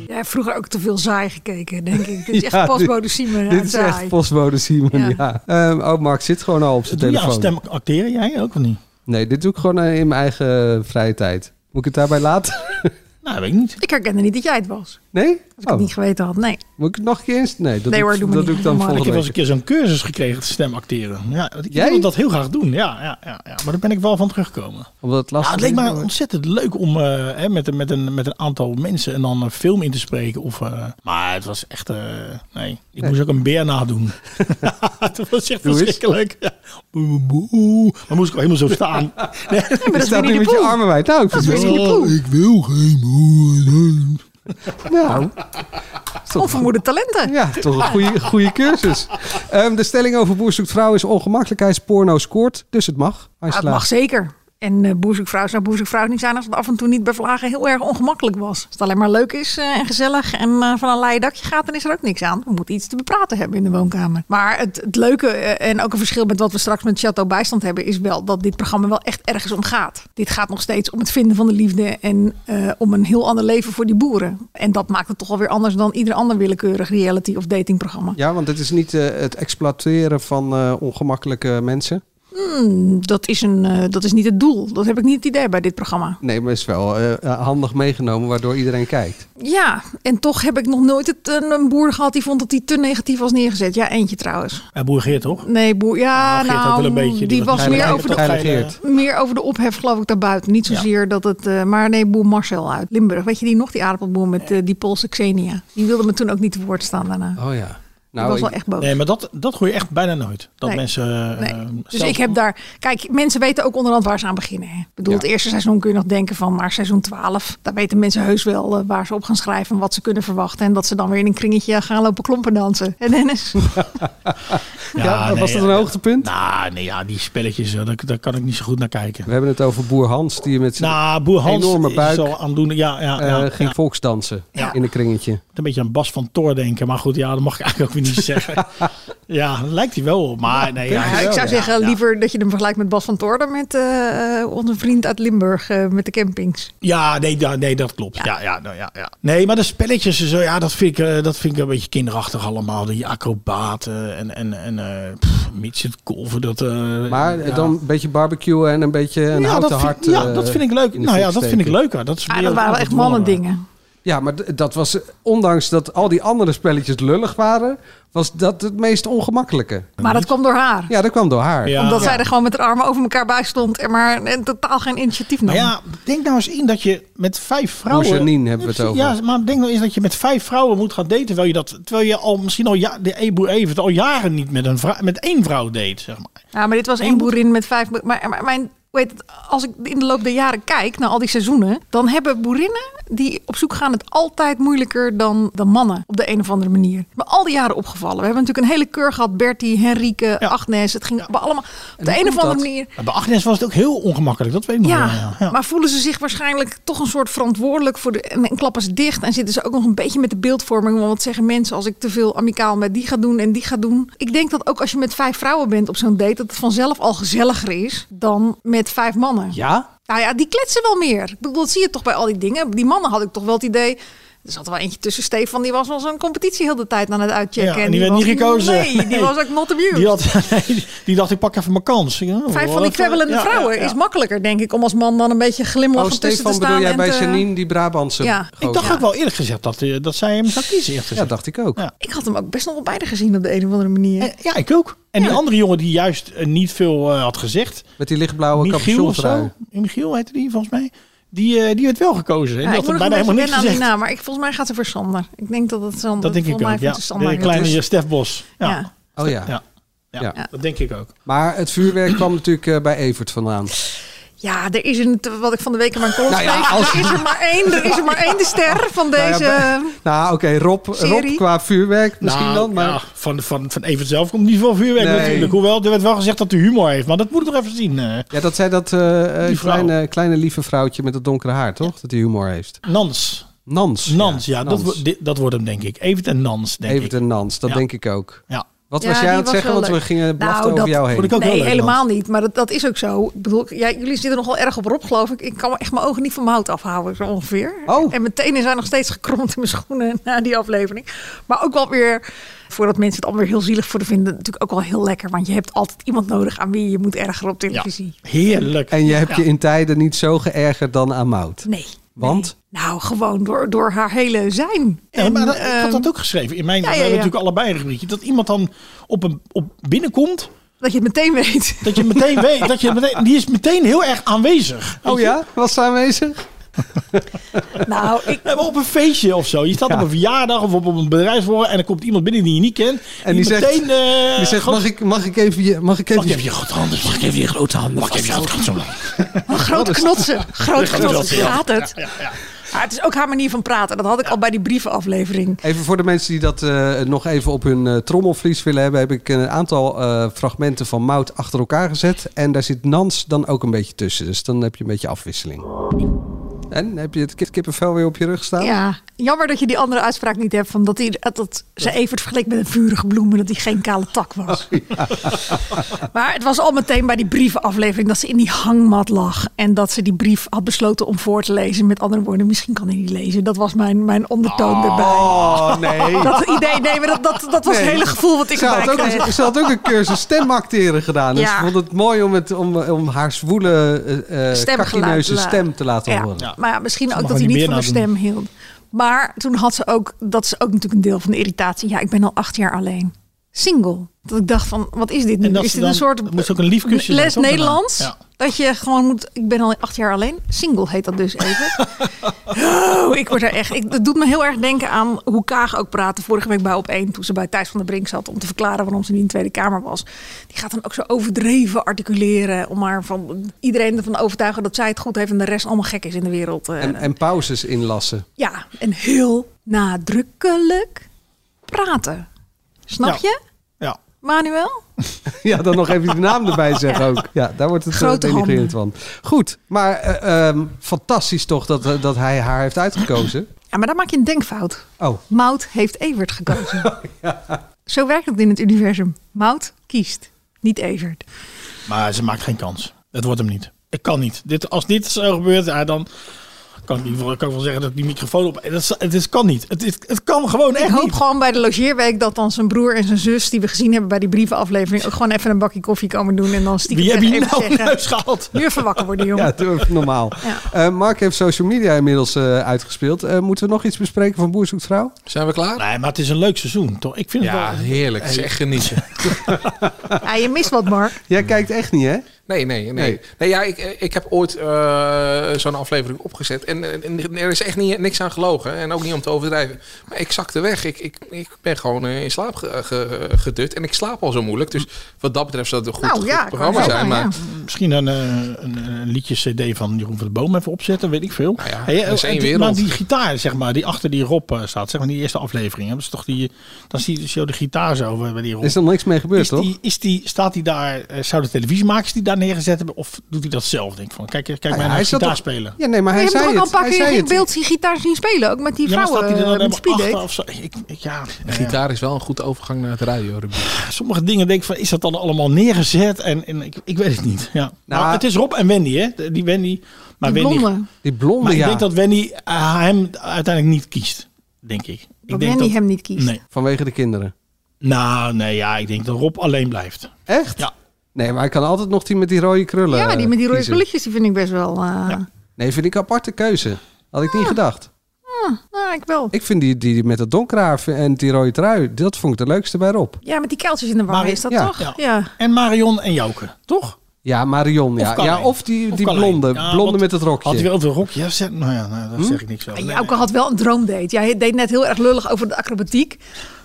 Ja, vroeger ook te veel saai gekeken, denk [LAUGHS] ik. Dit is echt postbode Simon. Dit is echt postbode Simon, ja. Ehm, oh, Mark zit gewoon al op zijn Doe je aan telefoon. stem acteren jij ook of niet? Nee, dit doe ik gewoon eh, in mijn eigen eh, vrije tijd. Moet ik het daarbij laten? [LAUGHS] nou, weet ik niet. Ik herkende niet dat jij het was. Nee? Oh. Als ik Oh. het niet geweten had, nee. Moet ik het nog een keer eens? Nee, dat Nee doe, hoor, ik, doe maar dat doe niet. ik dan Doe maar Ik volgende heb wel eens een week. keer zo'n cursus gekregen, stem acteren. Ja, ik Jij? wilde dat heel graag doen, ja, ja, ja, ja. Maar daar ben ik wel van teruggekomen. Omdat het Ja, lastig het leek is, mij maar- ontzettend leuk om eh, hè, met, een- met, een, met een aantal mensen en dan een film in te spreken. Of, eh, maar het was echt... eh, nee, ik Nee. moest ook een beer [LAUGHS] nadoen. [LAUGHS] dat was echt Doe eens. verschrikkelijk. Ja. Boe, boe, boe. Dan moest ik al helemaal zo [LAUGHS] staan. Nee, Je staat nu met je armen wijd. Nou, ik vind het wel- Oh, ik wil geen moeder. Nou, Onvermoede talenten. Ja, toch een goede, goede cursus. Ehm, de stelling over Boer zoekt vrouw is ongemakkelijkheidsporno scoort, dus het mag. Hij Ja, het slaat. mag zeker. En eh boer zoekt vrouw zou boer zoekt vrouw niet zijn als het af en toe niet bij vlagen heel erg ongemakkelijk was. Als het alleen maar leuk is eh, en gezellig en eh, van een leien dakje gaat, dan is er ook niks aan. We moeten iets te bepraten hebben in de woonkamer. Maar het, het leuke eh, en ook een verschil met wat we straks met Chateau Bijstand hebben, is wel dat dit programma wel echt ergens om gaat. Dit gaat nog steeds om het vinden van de liefde en eh, om een heel ander leven voor die boeren. En dat maakt het toch alweer anders dan ieder ander willekeurig reality of datingprogramma. Ja, want het is niet eh, het exploiteren van eh, ongemakkelijke mensen. Hmm, dat, is een, eh, dat is niet het doel. Dat heb ik niet het idee bij dit programma. Nee, maar is wel eh, eh, handig meegenomen waardoor iedereen kijkt. Ja, en toch heb ik nog nooit het, een, een boer gehad die vond dat hij te negatief was neergezet. Ja, eentje trouwens. En boer Geert, toch? Nee, boer. Ja, Geert nou, had wel een beetje, die, die was was niet meer heilig- over, de, heilig Geert. meer over de ophef, geloof ik, daarbuiten. Niet zozeer dat het. eh, maar nee, boer Marcel uit Limburg. Weet je die nog, die aardappelboer met eh, die Poolse Xenia? Die wilde me toen ook niet te woord staan daarna. Oh ja. Nou, was wel echt boos. Nee, maar dat, dat hoor je echt bijna nooit. Dat Nee. mensen... eh, Nee. Dus zelf- ik heb daar. Kijk, mensen weten ook onderhand waar ze aan beginnen. Hè. Ik bedoel, Ja. het eerste seizoen kun je nog denken van, maar seizoen 12, daar weten mensen heus wel eh, waar ze op gaan schrijven en wat ze kunnen verwachten. En dat ze dan weer in een kringetje gaan lopen klompen dansen. En Dennis. Ja, eh, was dat een hoogtepunt? Nou, nee, ja, die spelletjes, eh, daar, daar kan ik niet zo goed naar kijken. We hebben het over boer Hans, die met zijn Nou, boer Hans enorme is buik wel aandoenlijk. Ja, ja, eh, ja, ging ja. volksdansen Ja. in een kringetje. Een beetje aan Bas van Toor denken. Maar goed, ja, dat mag ik eigenlijk ook weer niet [LAUGHS] zeggen. ja, lijkt hij wel op. Maar nee, ja, [LAUGHS] Ja, ik zou zeggen, liever dat je hem vergelijkt met Bas van Toorn met eh, eh, onze vriend uit Limburg eh, met de campings. Ja, nee, da- nee dat klopt. Ja. Ja, nou, ja, ja. Nee, maar de spelletjes en zo, ja, dat vind ik, eh, dat vind ik een beetje kinderachtig allemaal. Die acrobaten en, en, en eh pff, midget golven. Dat, eh, Maar eh, ja. dan een beetje barbecue en een beetje een ja, houten dat hart. vind, ja, eh, dat vind ik leuk. in de Nou ja, fik dat vind ik steken. leuker. Dat, is Ja, meer Ah, dat waren wat echt gedwongener. mannen dingen. Ja, maar d- dat was, eh, ondanks dat al die andere spelletjes lullig waren, was dat het meest ongemakkelijke. Maar dat kwam door haar. Ja, dat kwam door haar. Omdat zij Ja. er gewoon met haar armen over elkaar bij stond en maar en totaal geen initiatief nam. Maar ja, denk nou eens in dat je met vijf vrouwen... Bourgeonine hebben we het Ja, over. Ja, maar denk nou eens dat je met vijf vrouwen moet gaan daten. Terwijl je, dat, terwijl je al misschien al, ja, de Ebu Evert al jaren niet met, een vrou- met één vrouw date, zeg maar. Ja, maar dit was één boerin met vijf. boer- Maar, maar mijn, hoe heet het, als ik in de loop der jaren kijk naar al die seizoenen, dan hebben boerinnen die op zoek gaan het altijd moeilijker dan, dan mannen op de een of andere manier. Maar al die jaren opgevallen. We hebben natuurlijk een hele keur gehad: Bertie, Henrike, Agnes. Het ging bij allemaal op de een of andere manier. Maar Bij Agnes was het ook heel ongemakkelijk, dat weet ik nog wel, Ja, ja. maar voelen ze zich waarschijnlijk toch een soort verantwoordelijk voor de. En, en klappen ze dicht en zitten ze ook nog een beetje met de beeldvorming. Want wat zeggen mensen als ik te veel amicaal met die ga doen en die ga doen? Ik denk dat ook als je met vijf vrouwen bent op zo'n date, dat het vanzelf al gezelliger is dan met vijf mannen. Ja? Nou ja, die kletsen wel meer. Ik bedoel, dat zie je toch bij al die dingen. Die mannen had ik toch wel het idee. Er zat er wel eentje tussen Stefan, die was wel zo'n competitie heel de tijd aan het uitchecken. Ja, en die werd was- niet gekozen. Nee, die Nee. was ook not amused. Die, had, [LAUGHS] nee, die dacht, ik pak even mijn kans. Ik dacht, oh, Vijf van wat, die eh, kwebbelende ja, vrouwen ja, ja. is makkelijker, denk ik, om als man dan een beetje Oh, glimlachend tussen te Stefan, staan. bedoel jij en bij te- Janine, die Brabantse Ja. gozer? Ik dacht ook wel eerlijk gezegd dat, eh, dat zij hem zou kiezen. eerlijk Ja, gezegd. dacht ik ook. Ja. Ik had hem ook best nog wel beide gezien op de een of andere manier. Ja, ik ook. En die andere jongen die juist eh, niet veel eh, had gezegd, Met die lichtblauwe Michiel of capuchontrui. zo. Michiel heette die volgens mij. Die, eh, die werd wel gekozen. En Ja, die ik had moet er nog bijna een helemaal beetje niks wennen aan die gezegd. naam, maar ik, volgens mij gaat ze voor Sander. Ik denk dat het Sander... Dat denk ik volgens mij ook, vindt ja. ze Sander De heel kleine leuk. Stefbos. Ja. Ja. Oh ja. Ja. Ja, Ja. dat denk ik ook. Maar het vuurwerk kwam natuurlijk eh, bij Evert vandaan. Ja, er is een, wat ik van de week in mijn column Nou schreef, ja, als- er is er maar één, er is er maar één de ster van Nou ja, deze... bij- Nou, oké, Rob, Rob serie? qua vuurwerk misschien Nou, dan. Maar ja, van, van, van Evert zelf komt niet veel vuurwerk Nee. natuurlijk. Hoewel, er werd wel gezegd dat hij humor heeft. Maar dat moet ik nog even zien. eh. ja, dat zei dat eh, eh, Die vrouw. kleine, kleine lieve vrouwtje met dat donkere haar, toch? Dat hij humor heeft. Nans. Nans. Nans, ja. Nans. Dat, wo- di- dat wordt hem denk ik. Evert en Nans, denk Evert ik. en Nans, dat Ja. denk ik ook. Ja. Wat was jij die aan het zeggen? wel Want we leuk. Nou, gingen blaffen over jou heen. Nou, Vond ik ook wel nee, leuk, helemaal niet. Maar dat, dat is ook zo. Ik bedoel, ja, jullie zitten nog wel erg op Rob, geloof ik. Ik kan echt mijn ogen niet van mijn hout afhouden, zo ongeveer. En mijn tenen zijn nog steeds gekromd in mijn schoenen [LAUGHS] na die aflevering. Maar ook wel weer, voordat mensen het allemaal weer heel zielig voor vinden, natuurlijk ook wel heel lekker. Want je hebt altijd iemand nodig aan wie je moet erger op televisie. Heerlijk. En je hebt je Ja. in tijden niet zo geërgerd dan aan Mout. Nee. Want? Nou, gewoon door, door haar hele zijn. Ja, maar dat, ik ehm, had dat ook geschreven. In mijn, ja, we ja, hebben ja. natuurlijk allebei een rubriekje. Dat iemand dan op een, op binnenkomt. Dat je het meteen weet. Dat je het meteen weet. Dat je het meteen, die is meteen heel erg aanwezig. Oh ja? Was ze aanwezig? nou, ik... Op een feestje of zo. Je staat op een verjaardag of op een bedrijfsvoorraad en er komt iemand binnen die je niet kent. En die zegt, meteen, eh, die zegt gewoon- mag, ik, mag ik even je... Mag ik even, Mag ik even je grote handen? Mag ik even je grote handen? Mag ik even je grote handen? Oh, Grote knotsen. Grote Grote knotsen, knotsen. ja. Gaat het? Maar het is ook haar manier van praten. Dat had ik al bij die brievenaflevering. Even voor de mensen die dat eh, nog even op hun eh, trommelvlies willen hebben... heb ik een aantal eh, fragmenten van Mout achter elkaar gezet. En daar zit Nans dan ook een beetje tussen. Dus dan heb je een beetje afwisseling. En heb je het kip- kippenvel weer op je rug staan? Ja, jammer dat je die andere uitspraak niet hebt. Van dat, die, dat- dat ze Evert vergeleek met een vurige bloem en dat hij geen kale tak was. Oh, [LAUGHS] Maar het was al meteen bij die brievenaflevering dat ze in die hangmat lag. En dat ze die brief had besloten om voor te lezen. Met andere woorden, misschien kan hij niet lezen. Dat was mijn, mijn ondertoon erbij. Oh, nee. Dat idee, nee, maar dat, dat, dat was Nee. het hele gevoel wat ik ze had, erbij ook, kreeg. een- ze had ook een cursus stemacteren gedaan. Dus Ja. ik vond het mooi om, het, om, om haar zwoele, eh, eh, Stemgeluid kakineuze te la- stem te laten Ja, horen. Maar ja, misschien ook mag dat er hij niet niet meer van haar naar stem hield. Maar toen had ze ook, dat is ook natuurlijk een deel van de irritatie. Ja, ik ben al acht jaar alleen. Single. Dat ik dacht van, wat is dit nu? En dat Is ze dit dan- een soort dat moet ook een lief kusje zijn, les toch, daarna? Nederlands? Ja. Dat je gewoon moet, ik ben al acht jaar alleen. Single heet dat [LAUGHS] dus even. oh, ik word er echt, ik, dat doet me heel erg denken aan hoe Kaag ook praatte vorige week bij Op1. Toen ze bij Thijs van der Brink zat om te verklaren waarom ze niet in de Tweede Kamer was. Die gaat dan ook zo overdreven articuleren. Om maar van iedereen ervan te overtuigen dat zij het goed heeft en de rest allemaal gek is in de wereld. eh. En, en pauzes inlassen. Ja, en heel nadrukkelijk praten. Snap Ja. je? Ja. Manuel? [LAUGHS] Ja, dan nog even die naam erbij zeggen ook. Ja, daar wordt het eh, Grote denigrerend van. Goed, maar eh, ehm, fantastisch toch dat, eh, dat hij haar heeft uitgekozen. Ja, maar daar maak je een denkfout. Oh, Mout heeft Evert gekozen. [LAUGHS] Zo werkt het in het universum. Mout kiest, niet Evert. Maar ze maakt geen kans. Het wordt hem niet. Ik kan niet. Dit, als dit zo gebeurt, ja, dan kan ik, niet, kan ik wel zeggen dat ik die microfoon op... Dat, is- het is, kan niet. Het, is, het kan gewoon Ik echt hoop niet. gewoon bij de logeerweek dat dan zijn broer en zijn zus... die we gezien hebben bij die brievenaflevering... ook gewoon even een bakje koffie komen doen en dan stiekem Wie heb tegen je Evert nou in zeggen... huis gehaald? Nu even wakker worden, jongen. ja, doe even [LAUGHS] normaal. Eh, Mark heeft social media inmiddels eh, uitgespeeld. Eh, moeten we nog iets bespreken van Boer zoekt vrouw? Zijn we klaar? Nee, maar het is een leuk seizoen, toch? Ik vind het Ja, wel... heerlijk. Het is echt genieten. Ja, je mist wat, Mark. Jij kijkt echt niet, hè? Nee, nee, nee. nee. Nee. ja, ik, ik heb ooit eh, zo'n aflevering opgezet. En, eh, en er is echt niet, niks aan gelogen. En ook niet om te overdrijven. Maar ik zakte weg. Ik, ik, ik ben gewoon eh, in slaap ge- ge- gedut. En ik slaap al zo moeilijk. Dus wat dat betreft zou het een goed, Nou, ja, goed ik programma wou zijn. zeggen, Maar Misschien een, eh, een, een liedje-cd van Jeroen van de Boom even opzetten, weet ik veel. Nou Hey, eh, dat is één die- wereld. Maar die gitaar, zeg maar, die achter die Rob eh, staat, zeg maar, die eerste aflevering. Hebben ze toch die, dan zie je zo de gitaar zo eh, bij die Rob. Is er nog niks mee gebeurd, is toch? die, is die, staat hij daar, eh, zou de televisiemakers die daar neergezet hebben? Of doet hij dat zelf? Denk ik van, kijk, kijk mij Ah ja, naar hij zat gitaar toch- spelen. Ja, nee, maar je hij hebt zei toch ook al een het. paar Hij keer zei in het. beeld zien gitaar zien spelen. Ook met die Ja, maar vrouwen staat hij er dan eh, met die helemaal speeddate. achter of zo? Ik, ik, ja, nou ja. gitaar is wel een goede overgang naar het radio. Sommige dingen denk ik van, is dat dan allemaal neergezet? En, en ik, ik weet het niet. Ja. Nou, maar het is Rob en Wendy, hè? De- Die Wendy. Maar Die Wendy, blonde. Die blonde, Maar Nou ja. ik denk dat Wendy eh, hem uiteindelijk niet kiest, denk ik. ik denk Dat Wendy dat- hem niet kiest. Nee. Vanwege de kinderen. Nou, nee, ja, ik denk dat Rob alleen blijft. Echt? Ja. Nee, maar hij kan altijd nog die met die rode krullen eh, Ja, die met die rode kiezen. spulletjes, die vind ik best wel... eh, Nee, vind ik een aparte keuze. Had ik niet gedacht. ah, nou, ik wel. Ik vind die, die, die met dat donkere haar en die rode trui, dat vond ik de leukste bij Rob. Ja, met die kuiltjes in de wangen Maar- is dat ja. toch? Ja. Ja. En Marion en Jouke, toch? Ja, Marion. Ja, Of Carlijn. ja, of die, Of die Carlijn. blonde. Ja, blonde want- met het rokje. Had hij weer over een rokje? Ja, zeg- nou ja, nou, daar zeg ik niks over. Nee, Jouke had wel een droomdate. Jij deed net heel erg lullig over de acrobatiek.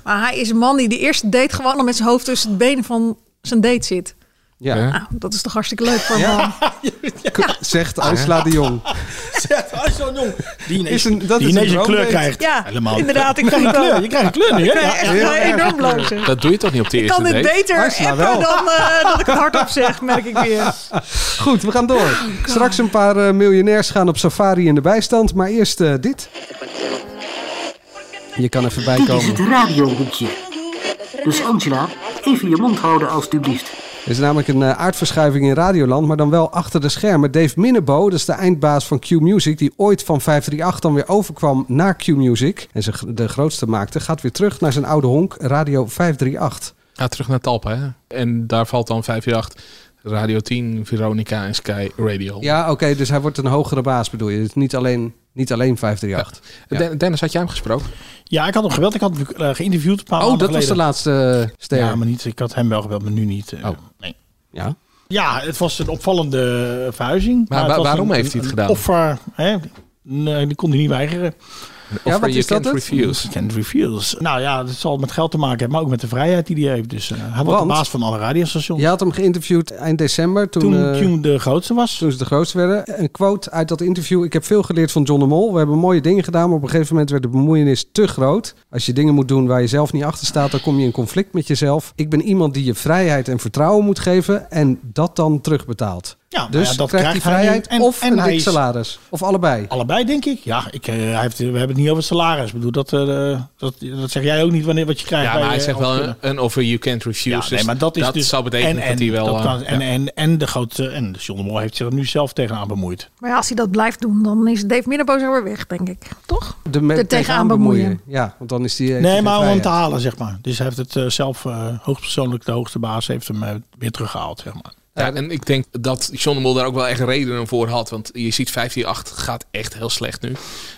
Maar hij is een man die de eerste date gewoon al met zijn hoofd tussen het benen van zijn date zit. Ja. Nou, dat is toch hartstikke leuk voor een Ja. man. [LAUGHS] Zegt Angela de [LAUGHS] Jong. zo'n jong. Die ineens, Is een- dat die is ineens een een, kleur droomdate. krijgt. Ja, Helemaal. inderdaad. Ik Je krijgt vind een het wel. kleur, je krijgt een kleur nu, Ik hè? krijg echt wel enorm blozen. Dat doe je toch niet op de Ik eerste kan dit date? beter Angela appen wel. dan eh, dat ik het hardop zeg, merk ik weer. Goed, we gaan door. Oh, Straks een paar eh, miljonairs gaan op safari in de bijstand. Maar eerst eh, dit. Je kan even bijkomen. radiohoekje. Dus Angela, even je mond houden alstublieft. Er is namelijk een eh, aardverschuiving in Radioland, maar dan wel achter de schermen. Dave Minnebo, dat is de eindbaas van Q Music, die ooit van 538 dan weer overkwam naar Q Music en zich de grootste maakte, gaat weer terug naar zijn oude honk, Radio 538. Ga terug naar Talpa, hè? En daar valt dan 538, Radio 10, Veronica en Sky Radio. Ja, oké, dus hij wordt een hogere baas bedoel je. Dus niet alleen, niet alleen 538. Den- Dennis, had jij hem gesproken? Ja, ik had hem gebeld. Ik had hem eh, geïnterviewd een paar Oh, maanden dat was de geleden. laatste eh, ster. Ja, maar niet. Ik had hem wel gebeld, maar nu niet. eh, nee. Ja? Ja, het was een opvallende eh, verhuizing. Maar het wa- was waarom een- heeft hij het een gedaan? Offer, hè? Nee, die kon hij niet weigeren. offer wat you is dat can't het? refuse. You can't refuse. Nou ja, dat zal met geld te maken hebben, maar ook met de vrijheid die hij heeft. Dus eh, hij was de Want- baas van alle radiostations. Je had hem geïnterviewd eind december toen, Toen eh, Tune de grootste was. Toen ze de grootste werden. Een quote uit dat interview. Ik heb veel geleerd van John de Mol. We hebben mooie dingen gedaan, maar op een gegeven moment werd de bemoeienis te groot. Als je dingen moet doen waar je zelf niet achter staat, dan kom je in conflict met jezelf. Ik ben iemand die je vrijheid en vertrouwen moet geven en dat dan terbetaalt. Ja, dus maar ja, dat krijgt krijgt hij hij nu. vrijheid En- of en een hij dik is- salaris. Of allebei. Allebei, denk ik. Ja, ik, eh, hij heeft, we hebben het niet over het salaris. Ik bedoel, dat, eh, dat, dat zeg jij ook niet wanneer, wat je krijgt. Ja, bij maar hij je zegt wel een, afkunde. een offer you can't refuse. eh, Ja, nee, Dus maar dat is dus... zou betekenen en- dat hij en wel... dat eh, kan- en, ja. en, en de grootste... En de John de Mol heeft zich er nu zelf tegenaan bemoeid. Maar ja, als hij dat blijft doen, dan is Dave Minnebo zo weer weg, denk ik. Toch? De me- Er tegenaan bemoeien. Ja, want dan is die. heeft hij Nee, geen maar om hem te vrijheid. halen, zeg maar. Dus hij heeft het eh, zelf, eh, hoogstpersoonlijk, de hoogste baas, heeft hem eh, weer teruggehaald, zeg maar. Ja, en ik denk dat John de Mol daar ook wel echt redenen voor had. Want je ziet 15-8 gaat echt heel slecht nu.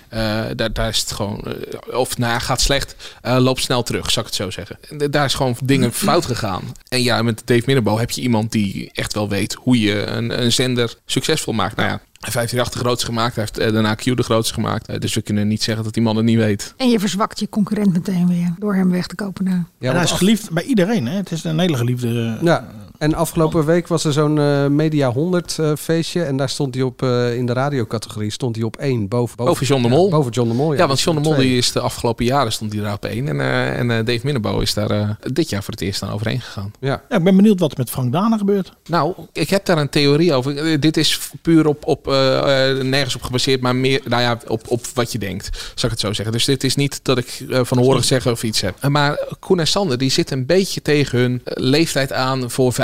Eh, daar, daar is het gewoon... eh, of nou ja, gaat slecht, eh, loopt snel terug, zou ik het zo zeggen. En d- daar is gewoon dingen fout gegaan. En ja, met Dave Minnebo heb je iemand die echt wel weet hoe je een, een zender succesvol maakt. Nou ja, 15-8 de grootste gemaakt. Hij heeft eh, daarna Q de grootste gemaakt. Eh, dus we kunnen niet zeggen dat die man het niet weet. En je verzwakt je concurrent meteen weer door hem weg te kopen. Nou. Ja, en hij want is geliefd bij iedereen, hè? Het is een hele geliefde... eh, Ja. En afgelopen week was er zo'n eh, Media 100 eh, feestje. En daar stond hij op, eh, in de radiocategorie, stond hij op één. Boven, Boven John de Mol. Ja, boven John de Mol, ja. Ja, want John de Mol Twee. die is de afgelopen jaren stond hij daar op één. En, eh, en eh, Dave Minnebo is daar eh, dit jaar voor het eerst aan overheen gegaan. Ja. Ja, ik ben benieuwd wat er met Frank Dana gebeurt. Nou, ik heb daar een theorie over. Eh, Dit is puur op, op eh, eh, nergens op gebaseerd, maar meer nou ja, op, op wat je denkt. Zal ik het zo zeggen. Dus dit is niet dat ik eh, van horen zeggen of iets heb. Eh, maar Koen en Sander, die zitten een beetje tegen hun eh, leeftijd aan voor 158.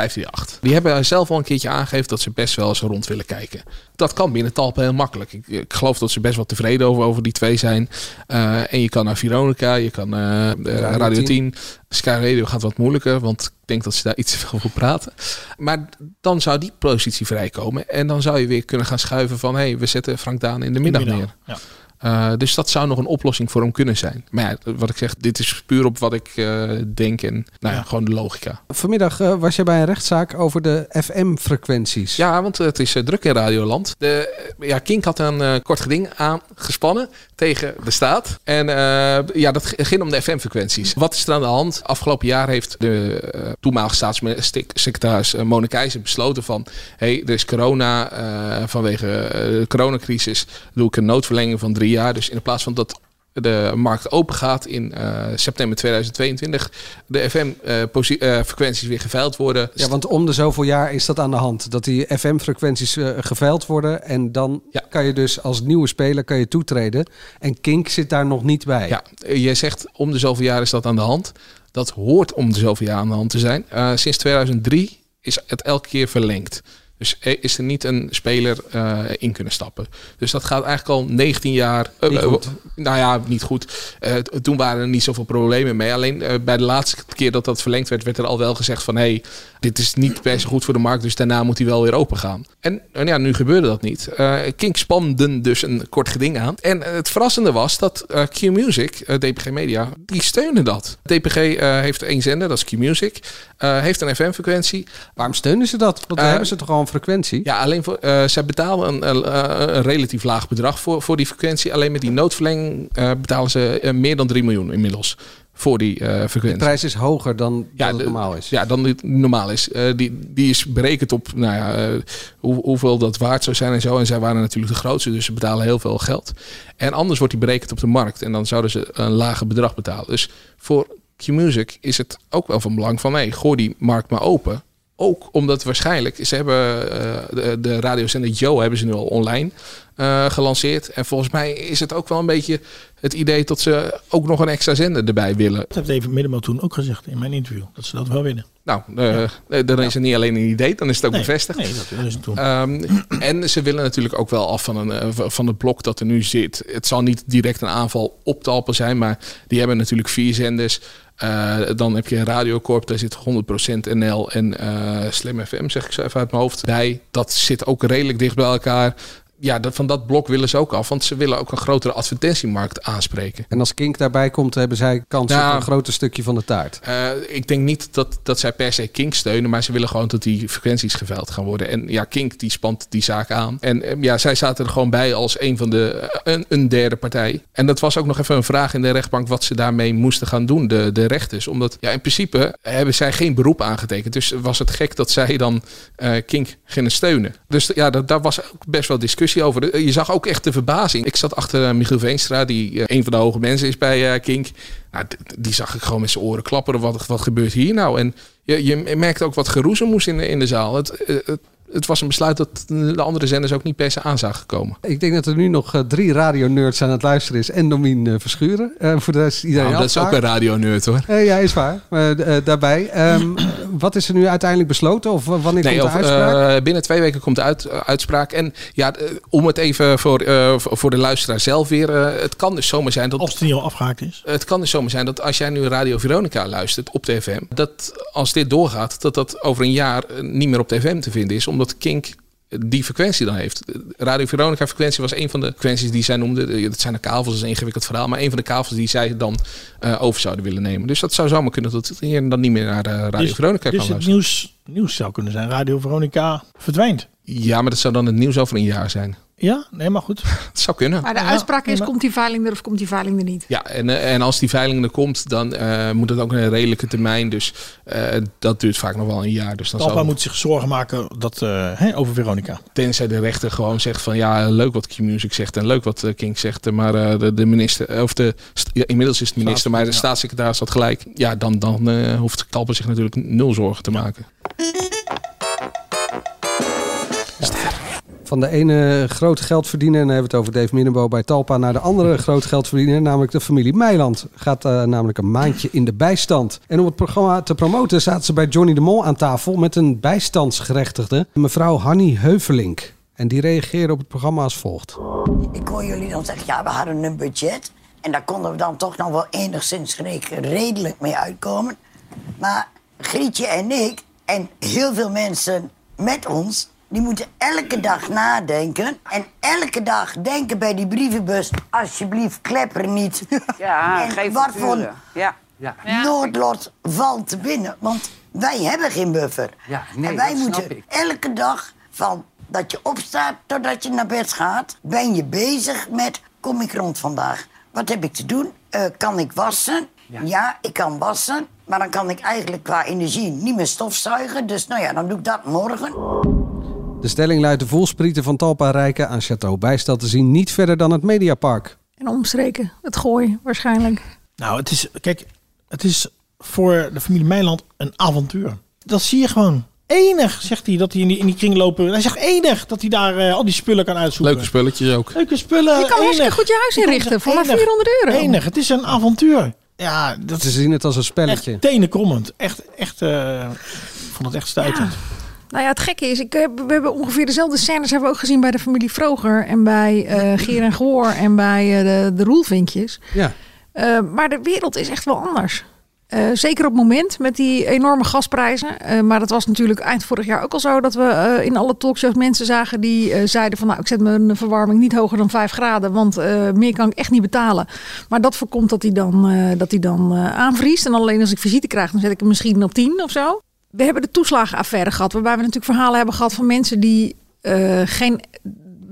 Die hebben zelf al een keertje aangegeven dat ze best wel eens rond willen kijken. Dat kan binnen Talpa heel makkelijk. Ik, ik geloof dat ze best wel tevreden over, over die twee zijn. Eh, en je kan naar Veronica, je kan eh, eh, Radio Radio 10. 10. Sky Radio gaat wat moeilijker, want ik denk dat ze daar iets [LAUGHS] te veel voor praten. Maar dan zou die positie vrijkomen. En dan zou je weer kunnen gaan schuiven van... hé, hey, we zetten Frank Daan in de middag middag, neer. ja. Eh, dus dat zou nog een oplossing voor hem kunnen zijn. Maar ja, wat ik zeg, dit is puur op wat ik eh, denk en nou ja, gewoon de logica. Vanmiddag eh, was jij bij een rechtszaak over de FM-frequenties. Ja, want het is eh, druk in Radioland. De, ja, Kink had een eh, kort geding aangespannen tegen de staat. En eh, ja, dat g- ging om de FM-frequenties. Wat is er aan de hand? Afgelopen jaar heeft de eh, toenmalige staatssecretaris uh, Mona Keijzer besloten van... hé, hey, er is corona, eh, vanwege eh, de coronacrisis doe ik een noodverlenging van drie jaar. Dus in plaats van dat de markt open gaat in eh, september 2022, de eh, FM-frequenties weer geveild worden. Ja, want om de zoveel jaar is dat aan de hand. Dat die FM-frequenties eh, geveild worden. En dan kan je dus als nieuwe speler kan je toetreden. En Kink zit daar nog niet bij. Ja, eh, jij zegt om de zoveel jaar is dat aan de hand. Dat hoort om de zoveel jaar aan de hand te zijn. Eh, sinds 2003 is het elke keer verlengd. Dus er is er niet een speler eh, in kunnen stappen. Dus dat gaat eigenlijk al 19 jaar. eh, Niet eh, goed. nou ja, niet goed. Eh, t- toen waren er niet zoveel problemen mee. Alleen eh, bij de laatste keer dat dat verlengd werd, werd er al wel gezegd van hé, hey, dit is niet per se goed voor de markt. Dus daarna moet hij wel weer open gaan. En, en ja, nu gebeurde dat niet. Eh Kink spanden dus een kort geding aan. En eh, het verrassende was dat eh, Q Music, eh, DPG Media, die steunen dat. DPG eh, heeft één zender, dat is Q Music. eh, heeft een FM-frequentie. Waarom steunen ze dat? Want dan Eh, hebben ze toch al een frequentie? Ja, alleen voor, eh, zij betalen een, eh, een relatief laag bedrag voor, voor die frequentie. Alleen met die noodverlenging eh, betalen ze eh, meer dan 3 miljoen inmiddels voor die eh, frequentie. De prijs is hoger dan Ja, dat het de- normaal is. Ja, dan dit normaal is. Eh, die, die is berekend op nou ja, eh, hoe, hoeveel dat waard zou zijn en zo. En zij waren natuurlijk de grootste, dus ze betalen heel veel geld. En anders wordt die berekend op de markt. En dan zouden ze een lager bedrag betalen. Dus voor Q-Music is het ook wel van belang van... Hey, gooi die markt maar open. Ook omdat waarschijnlijk, ze hebben eh, de, de radiozender Joe hebben ze nu al online eh, gelanceerd. En volgens mij is het ook wel een beetje het idee dat ze ook nog een extra zender erbij willen. Dat heeft even Middenman toen ook gezegd in mijn interview. Dat ze dat wel willen. Nou, eh, eh, dan is het niet alleen een idee, dan is het ook Nee, bevestigd. nee, dat willen ze toen. Ehm, en ze willen natuurlijk ook wel af van, een, eh, v- van het blok dat er nu zit. Het zal niet direct een aanval op Talpa zijn, maar die hebben natuurlijk vier zenders. Eh, dan heb je Radiocorp, daar zit 100% NL en eh, Slim FM, zeg ik zo even uit mijn hoofd, bij. Dat zit ook redelijk dicht bij elkaar. Ja, dat, van dat blok willen ze ook af, want ze willen ook een grotere advertentiemarkt aanspreken. En als Kink daarbij komt, hebben zij kans Nou. op een groter stukje van de taart. Eh, ik denk niet dat, dat zij per se Kink steunen, maar ze willen gewoon dat die frequenties geveild gaan worden. En ja, Kink die spant die zaak aan. En eh, ja, zij zaten er gewoon bij als een van de eh, een, een derde partij. En dat was ook nog even een vraag in de rechtbank wat ze daarmee moesten gaan doen, de, de rechters. Omdat ja, in principe hebben zij geen beroep aangetekend. Dus was het gek dat zij dan eh, Kink gingen steunen. Dus ja, dat, daar was ook best wel discussie over. Eh, Je zag ook echt de verbazing. Ik zat achter eh, Michiel Veenstra, die eh, een van de hoge mensen is bij eh, Kink. Nou, d- d- die zag ik gewoon met zijn oren klapperen. Wat, wat gebeurt hier nou? En je, je merkte ook wat geroezemoes in de, in de zaal. Het, eh, het, het was een besluit dat de andere zenders ook niet per se aan zagen komen. Ik denk dat er nu nog eh, drie radionerds aan het luisteren is. En Domien eh, Verschuren. Eh, voor de rest is iedereen Nou, dat is ook een afgehaakt. radioneurt hoor. Eh, ja, is waar. Maar, eh, daarbij. ehm, [CLEARS THROAT] wat is er nu uiteindelijk besloten? Of eh, wanneer komt de of, uitspraak? eh, binnen twee weken komt de uit, eh, uitspraak. En ja, eh, om het even voor, eh, voor voor de luisteraar zelf weer. eh, het kan dus zomaar zijn dat. Als het niet al afgehaakt is. Het kan dus zomaar zijn dat als jij nu Radio Veronica luistert op de FM, dat als dit doorgaat, dat dat over een jaar eh, niet meer op de FM te vinden is, omdat Kink eh, die frequentie dan heeft. Eh, Radio Veronica frequentie was een van de frequenties die zij noemde. eh, Dat zijn de kavels, dat is een ingewikkeld verhaal, maar een van de kavels die zij dan eh, over zouden willen nemen. Dus dat zou zomaar kunnen dat het hier dan niet meer naar eh, Radio dus Veronica dus kan het luisteren. nieuws, nieuws zou kunnen zijn. Radio Veronica verdwijnt. Ja, maar dat zou dan het nieuws over een jaar zijn. Ja, nee, maar [LAUGHS] goed. Het zou kunnen. Maar de uitspraak is, komt die veiling er of komt die veiling er niet? Ja, en, eh, en als die veiling er komt, dan eh, moet het ook een redelijke termijn. Dus eh, dat duurt vaak nog wel een jaar. Dus dan Talpa zou moet zich zorgen maken dat, eh, hè, over Veronica. Tenzij de rechter gewoon zegt van ja, leuk wat Q-Music zegt en leuk wat eh, King zegt. eh, Maar eh, de, de minister, of de, st- ja, inmiddels is het minister, maar de staatssecretaris had gelijk. Ja, dan, dan eh, hoeft Talpa zich natuurlijk nul zorgen te maken. Van de ene groot geldverdiener, en dan hebben we het over Dave Minnebo bij Talpa, naar de andere groot geldverdiener, namelijk de familie Meiland. Gaat eh, namelijk een maandje in de bijstand. En om het programma te promoten zaten ze bij Johnny de Mol aan tafel met een bijstandsgerechtigde, mevrouw Hanny Heuvelink. En die reageerde op het programma als volgt. Ik hoor jullie dan zeggen, ja, we hadden een budget. En daar konden we dan toch nog wel enigszins re- redelijk mee uitkomen. Maar Grietje en ik, en heel veel mensen met ons... die moeten elke dag nadenken. En elke dag denken bij die brievenbus... alsjeblieft, klepper niet. Ja, en geen wat voor facturen. Ja. noodlot valt te binnen. Want wij hebben geen buffer. Ja, nee, en wij dat snap moeten ik. elke dag van dat je opstaat totdat je naar bed gaat, ben je bezig met kom ik rond vandaag? Wat heb ik te doen? Eh, kan ik wassen? Ja. ik kan wassen. Maar dan kan ik eigenlijk qua energie niet meer stofzuigen. Dus nou ja, dan doe ik dat morgen. De stelling luidt de volsprieten van Talpa Rijken aan Chateau Bijstand te zien niet verder dan het Mediapark. En omstreken. Het gooi waarschijnlijk. Nou, het is, kijk, het is voor de familie Meiland een avontuur. Dat zie je gewoon. Enig, zegt hij, dat hij in die, in die kring lopen. Hij zegt enig dat hij daar eh, al die spullen kan uitzoeken. Leuke spulletjes ook. Leuke spullen. Je kan hartstikke enig. goed je huis Nou, Je kan inrichten voor maar enig. 400 euro. Enig, het is een avontuur. Ja, dat Ze zien het als een spelletje. echt tenenkomend. Echt, echt, eh, ik vond het echt stuitend. Nou ja, het gekke is, ik heb, we hebben ongeveer dezelfde scènes hebben we ook gezien bij de familie Vroger en bij eh Geer en Goor en bij eh, de, de Roelvinkjes. Ja. Eh, maar de wereld is echt wel anders. Eh, zeker op het moment met die enorme gasprijzen. Eh, maar dat was natuurlijk eind vorig jaar ook al zo dat we eh, in alle talkshows mensen zagen die eh, zeiden van nou ik zet mijn verwarming niet hoger dan 5 graden, want eh, meer kan ik echt niet betalen. Maar dat voorkomt dat hij dan, eh, dat hij dan eh, aanvriest. En alleen als ik visite krijg, dan zet ik hem misschien op 10 of zo. We hebben de toeslagenaffaire gehad, waarbij we natuurlijk verhalen hebben gehad van mensen die eh, geen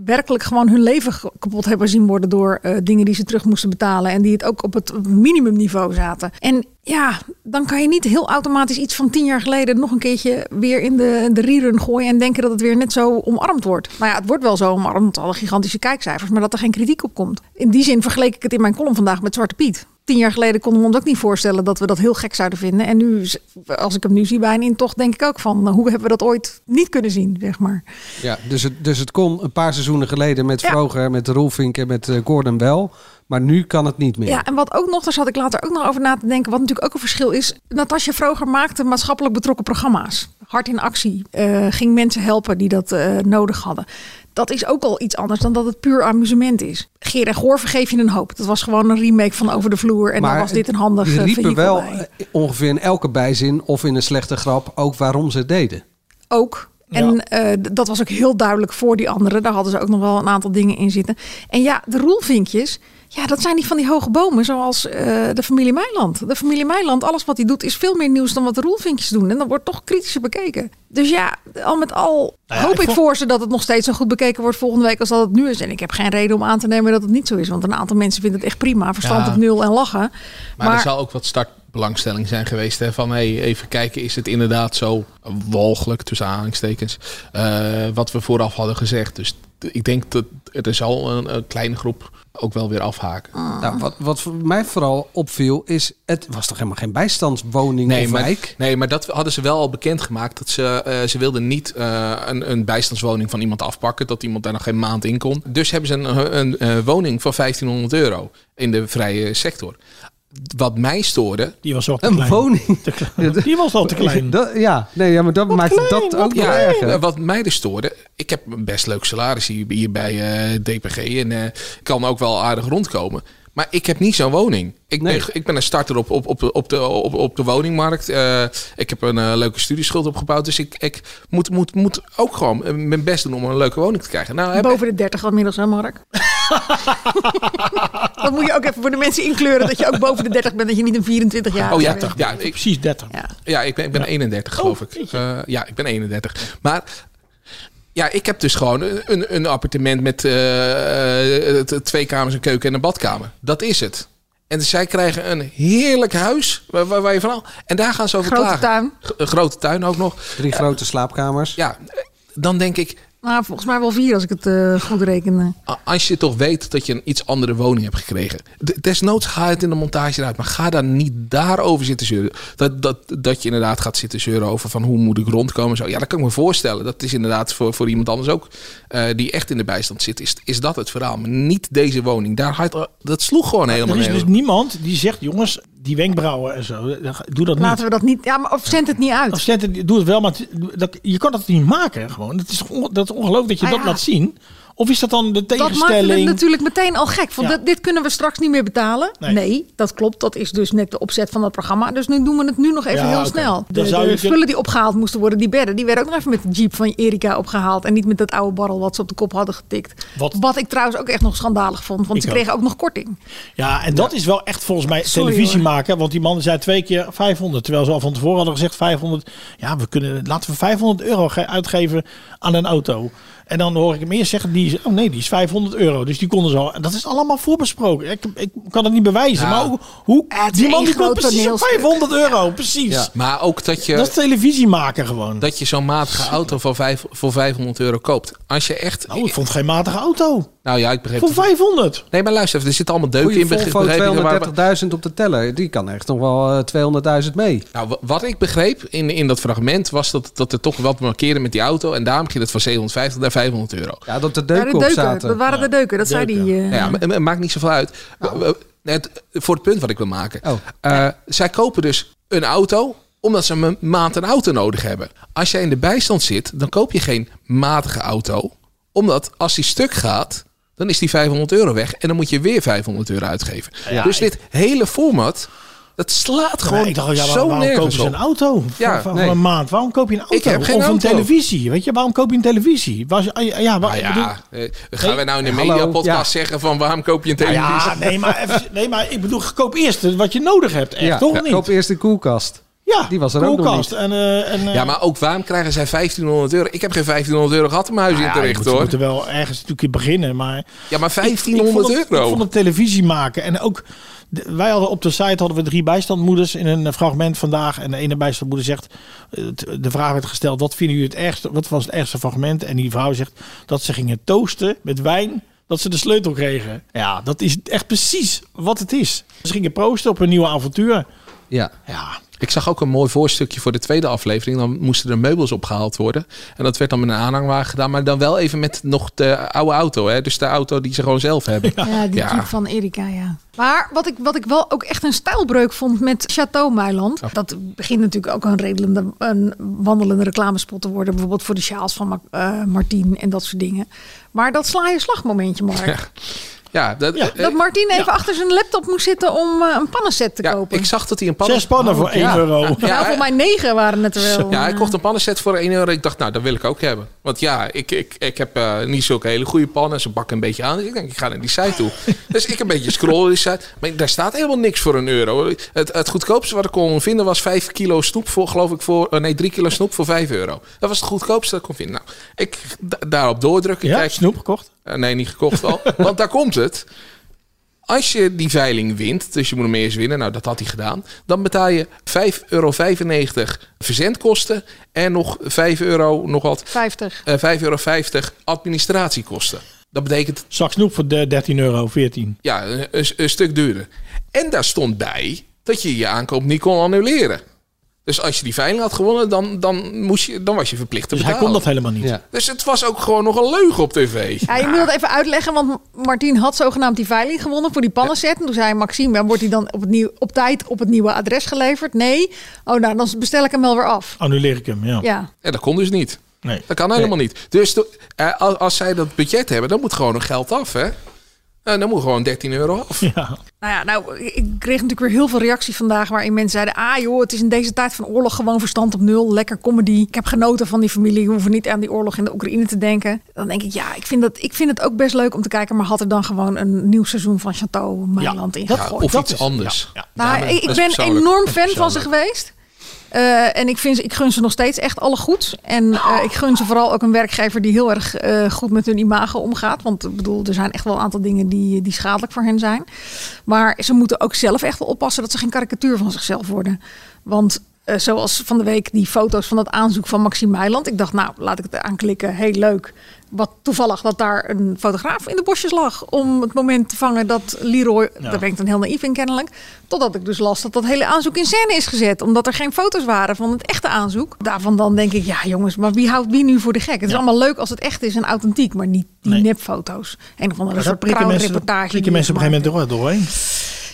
werkelijk gewoon hun leven ge- kapot hebben zien worden door eh, dingen die ze terug moesten betalen en die het ook op het minimumniveau zaten. En ja, dan kan je niet heel automatisch iets van tien jaar geleden nog een keertje weer in de, de rerun gooien en denken dat het weer net zo omarmd wordt. Nou ja, het wordt wel zo omarmd, alle gigantische kijkcijfers, maar dat er geen kritiek op komt. In die zin vergeleek ik het in mijn column vandaag met Zwarte Piet. Tien jaar geleden konden we ons ook niet voorstellen dat we dat heel gek zouden vinden. En nu, z- als ik hem nu zie bij een intocht, denk ik ook van, eh, hoe hebben we dat ooit niet kunnen zien, zeg maar. Ja, dus het, dus het kon een paar seizoenen geleden met Vroger, met Roelvink en met eh, Gordon wel. Maar nu kan het niet meer. Ja, en wat ook nog, daar zat ik later ook nog over na te denken. Wat natuurlijk ook een verschil is. Natasja Vroger maakte maatschappelijk betrokken programma's. Hard in actie. eh, ging mensen helpen die dat eh, nodig hadden. Dat is ook al iets anders dan dat het puur amusement is. Geer en Goor vergeef je een hoop. Dat was gewoon een remake van Over de Vloer. En daar was dit een handig Ze eh, riepen vehikel wel bij. eh, ongeveer in elke bijzin of in een slechte grap ook waarom ze het deden. Ook. En eh, d- dat was ook heel duidelijk voor die anderen. Daar hadden ze ook nog wel een aantal dingen in zitten. En ja, de roelvinkjes. Ja, dat zijn niet van die hoge bomen zoals eh, de familie Meiland. De familie Meiland, alles wat hij doet, is veel meer nieuws dan wat de roelvinkjes doen. En dat wordt toch kritischer bekeken. Dus ja, al met al Nou ja, hoop ik ik, vond- voor ze dat het nog steeds zo goed bekeken wordt volgende week als dat het nu is. En ik heb geen reden om aan te nemen dat het niet zo is. Want een aantal mensen vinden het echt prima. Verstand Ja. op nul en lachen. Maar, er zal ook wat startbelangstelling zijn geweest. Hè? Van hey, even kijken, is het inderdaad zo walgelijk, tussen aanhalingstekens, eh, wat we vooraf hadden gezegd. Dus t- ik denk dat er zal een, een kleine groep ook wel weer afhaken. Ah. Nou, wat, wat voor mij vooral opviel is, het was toch helemaal geen bijstandswoning Nee of maar, wijk? nee, maar dat hadden ze wel al bekendgemaakt. Dat ze, eh, ze wilden niet eh, een, een bijstandswoning van iemand afpakken. Dat iemand daar nog geen maand in kon. Dus hebben ze een, een, eh, woning van 1500 euro in de vrije sector. Wat mij stoorde... Die was ook een woning. [LAUGHS] Die was [LAUGHS] al te klein. Dat- ja, nee, ja, maar dat maakt dat ook nog erger. eh, Wat mij dus stoorde, ik heb een best leuk salaris hier, hier bij eh, DPG en eh, kan ook wel aardig rondkomen. Maar ik heb niet zo'n woning. Ik, ben, ik ben een starter op, op, op, op, de, op, op de woningmarkt. Eh, ik heb een eh, leuke studieschuld opgebouwd. Dus ik, ik moet, moet, moet ook gewoon eh, mijn best doen om een leuke woning te krijgen. Nou, heb, Boven de 30 inmiddels, [LAUGHS] hè Mark? dat moet je ook even voor de mensen inkleuren. Dat je ook boven de 30 bent. Dat je niet een 24 jaar oh ja, bent. ja ik, precies 30. Ja, ik ben, ik ben 31 geloof Oh, ik. Eh, ja, ik ben 31. Maar ja, ik heb dus gewoon een- een, een appartement met eh, eh, t- twee kamers, een keuken en een badkamer. Dat is het. En dus zij krijgen een heerlijk huis waar, waar, waar je van al. En daar gaan ze over Grote klagen. tuin. G- een grote tuin ook nog. Drie grote slaapkamers. Ja, eh, dan denk ik, Nou, volgens mij wel vier als ik het eh, goed reken. a- als je toch weet dat je een iets andere woning hebt gekregen. D- Desnoods ga het in de montage eruit. Maar ga daar niet daarover zitten zeuren. Dat, dat, dat je inderdaad gaat zitten zeuren over van hoe moet ik rondkomen. en Zo. Ja, dat kan ik me voorstellen. Dat is inderdaad voor, voor iemand anders ook. eh, die echt in de bijstand zit. Is, is dat het verhaal. Maar niet deze woning. Daar had, dat sloeg gewoon helemaal Er is dus nergens. niemand die zegt, jongens, die wenkbrauwen en zo, doe Hm. dat niet. Laten we dat niet. Ja, maar of zend het niet uit. Of zet het, doe het wel, maar het- dat, je kan dat niet maken gewoon. Dat is, toch on- dat is ongelooflijk dat je Ah, dat ja. laat zien. Of is dat dan de Dat maakt het tegenstelling? natuurlijk meteen al gek. Want Ja. dit- dit kunnen we straks niet meer betalen. Nee. Nee. dat klopt. Dat is dus net de opzet van dat programma. Dus nu doen we het nu nog even Ja, heel oké. snel. Dan zou De, de je kunnen- spullen die opgehaald moesten worden, die bedden, die werden ook nog even met de jeep van Erika opgehaald. En niet met dat oude barrel wat ze op de kop hadden getikt. Wat- Wat, ik trouwens ook echt nog schandalig vond. Want Ik ze kregen ook. ook nog korting. Ja, en dat is wel echt volgens mij Sorry, televisie hoor. maken. Want die man zei twee keer 500. Terwijl ze al van tevoren hadden gezegd 500. Ja, we kunnen, laten we 500 euro ge- uitgeven aan een auto. En dan hoor ik hem eerst zeggen, die is, oh nee, die is 500 euro. Dus die konden zo. Dat is allemaal voorbesproken. Ik, ik kan het niet bewijzen. Ja. Maar hoe, hoe het is die man één die komt groot precies op toneelstuk. 500 euro. Precies. Ja, maar ook dat je... Dat is televisie maken gewoon. Dat je zo'n matige auto voor, vijf, voor 500 euro koopt. Als je echt. Nou, ik vond het geen matige auto. Nou ja, ik begreep. Voor 500. Nee, maar luister, even, er zitten allemaal deuken Goeie in. begreep- Volvo begreep ik, waar- 230.000 op de teller. Die kan echt nog wel eh, 200.000 mee. Nou, wa- wat ik begreep in, in dat fragment was dat, dat er toch wat markeren met die auto. En daarom ging het van 750 naar 500 euro. Ja, dat de Ja, deuken de op deuken. Dat zaten. waren de deuken. Dat zei die. eh, Nou ja, maar- maar maakt niet zoveel uit. W- w- Het, voor het punt wat ik wil maken. Eh, zij kopen dus een auto omdat ze een maand een auto nodig hebben. Als jij in de bijstand zit, dan koop je geen matige auto. Omdat als die stuk gaat, dan is die 500 euro weg. En dan moet je weer 500 euro uitgeven. Ja, dus ik- dit hele format, dat slaat Maar gewoon ik dacht, al, ja, waar- zo waarom kopen nergens ze op. een auto? Ja, Ja, van, nee. een maand. Waarom koop je een auto? Ik heb geen of een auto. televisie. Weet je, waarom koop je een televisie? Was, ah, ja, ja, wa- Nou ik bedoel- ja, eh, gaan Nee. we nou in de Hallo, mediapodcast ja. zeggen van waarom koop je een Nou televisie? ja, nee, maar even- nee, maar ik bedoel, koop eerst wat je nodig hebt. Echt, Ja, toch ja, niet? koop eerst een koelkast. ja, Die was er ook nog koelkast niet. En, eh, en, eh, Ja, maar ook waarom krijgen zij 1500 euro? Ik heb geen 1500 euro gehad om mijn huis nou ja, in je terecht moet- hoor. Je moet er wel ergens natuurlijk in beginnen, maar... Ja, maar Ik- ik vond 1500 het- euro. Ik vond het televisie maken. En ook, de- wij hadden op de site hadden we drie bijstandmoeders in een eh, fragment vandaag. En de ene bijstandmoeder zegt, eh, t- de vraag werd gesteld, wat vinden jullie het ergste? Wat was het ergste fragment? En die vrouw zegt dat ze gingen toasten met wijn. Dat ze de sleutel kregen. Ja, dat is echt precies wat het is. Ze gingen proosten op een nieuwe avontuur. Ja. ja. Ik zag ook een mooi voorstukje voor de tweede aflevering. Dan moesten er meubels opgehaald worden. En dat werd dan met een aanhangwagen gedaan. Maar dan wel even met nog de oude auto. Hè? Dus de auto die ze gewoon zelf hebben. Ja, die type van Erika, ja. Maar wat ik, wat ik wel ook echt een stijlbreuk vond met Chateau Mailand. Dat begint natuurlijk ook een, redelende, een wandelende reclamespot te worden. Bijvoorbeeld voor de sjaals van Ma- eh, Martien en dat soort dingen. Maar dat sla je slagmomentje, Mark. Ja. Ja, dat, eh, Dat Martien even achter zijn laptop moest zitten om eh, een pannenset te kopen. ik zag dat hij een pannen... Zes pannen voor Oh, één euro. Ja, nou, hij- voor mij negen waren het er wel. eh, Ja, ik kocht een pannenset voor 1 euro. Ik dacht, nou, dat wil ik ook hebben. Want ja, ik, ik, ik heb eh, niet zulke hele goede pannen. Ze bakken een beetje aan. Dus ik denk, ik ga naar die site [LAUGHS] toe. dus ik een beetje scrollen die site. Maar daar staat helemaal niks voor een euro. Het, het goedkoopste wat ik kon vinden was 5 kilo snoep voor, geloof ik, voor... eh, nee, 3 kilo snoep voor 5 euro. Dat was het goedkoopste dat ik kon vinden. Nou, ik da- daarop doordrukken. Ja, kijk, snoep gekocht. eh, nee, niet gekocht [LAUGHS] wel. Want daar komt het. Als je die veiling wint, dus je moet hem eerst winnen, nou dat had hij gedaan, dan betaal je 5,95 euro verzendkosten en nog 5 euro, nog wat, 50. eh, 5,50 euro administratiekosten. Dat betekent Zak snoep voor de 13 euro, 14. ja, een, een- een stuk duurder. En daar stond bij dat je je aankoop niet kon annuleren. Dus als je die veiling had gewonnen, dan, dan, moest je, dan was je verplicht te Dus hij betalen. kon dat helemaal niet. Dus het was ook gewoon nog een leugen op tv. Ja, je moet dat even uitleggen, want Martien had zogenaamd die veiling gewonnen voor die pannenset. En toen zei Maxime, ja, wordt hij dan op, het nieuw, op tijd op het nieuwe adres geleverd? Nee. Oh, nou, dan bestel ik hem wel weer af. Annuleer Oh, ik hem, ja. Ja. Ja, dat kon dus niet. Nee. Dat kan helemaal niet. Dus to- eh, als, als zij dat budget hebben, dan moet gewoon nog geld af, hè? Eh, dan moet gewoon 13 euro af. Ja. Nou ja, nou, ik kreeg natuurlijk weer heel veel reacties vandaag waarin mensen zeiden... ah joh, het is in deze tijd van oorlog gewoon verstand op nul. Lekker comedy. Ik heb genoten van die familie. We hoeven niet aan die oorlog in de Oekraïne te denken. Dan denk ik, ja, ik vind, dat, ik vind het ook best leuk om te kijken... maar had er dan gewoon een nieuw seizoen van Chateau Mailand in Ja, of iets anders. Nou, ik, ik ben enorm fan van ze geweest. Eh, en ik, vind, ze- ik gun ze nog steeds echt alle goeds. En eh, ik gun ze vooral ook een werkgever die heel erg eh, goed met hun imago omgaat. Want ik bedoel, er zijn echt wel een aantal dingen die, die schadelijk voor hen zijn. Maar ze moeten ook zelf echt wel oppassen dat ze geen karikatuur van zichzelf worden. Want eh, zoals van de week die foto's van dat aanzoek van Maxime Meiland. Ik dacht, nou, laat ik het aanklikken. Heel leuk. Wat toevallig dat daar een fotograaf in de bosjes lag. Om het moment te vangen dat Leroy. Ja. Daar ben ik dan heel naïef in kennelijk. Totdat ik dus las dat dat hele aanzoek in scène is gezet. Omdat er geen foto's waren van het echte aanzoek. Daarvan dan denk ik, ja jongens, maar wie houdt wie nu voor de gek? Het is allemaal leuk als het echt is en authentiek. Maar niet die nepfoto's. Een of andere Maar dat soort prikken mensen, dat trouwreportage prikken die mensen op een gegeven moment door, doorheen.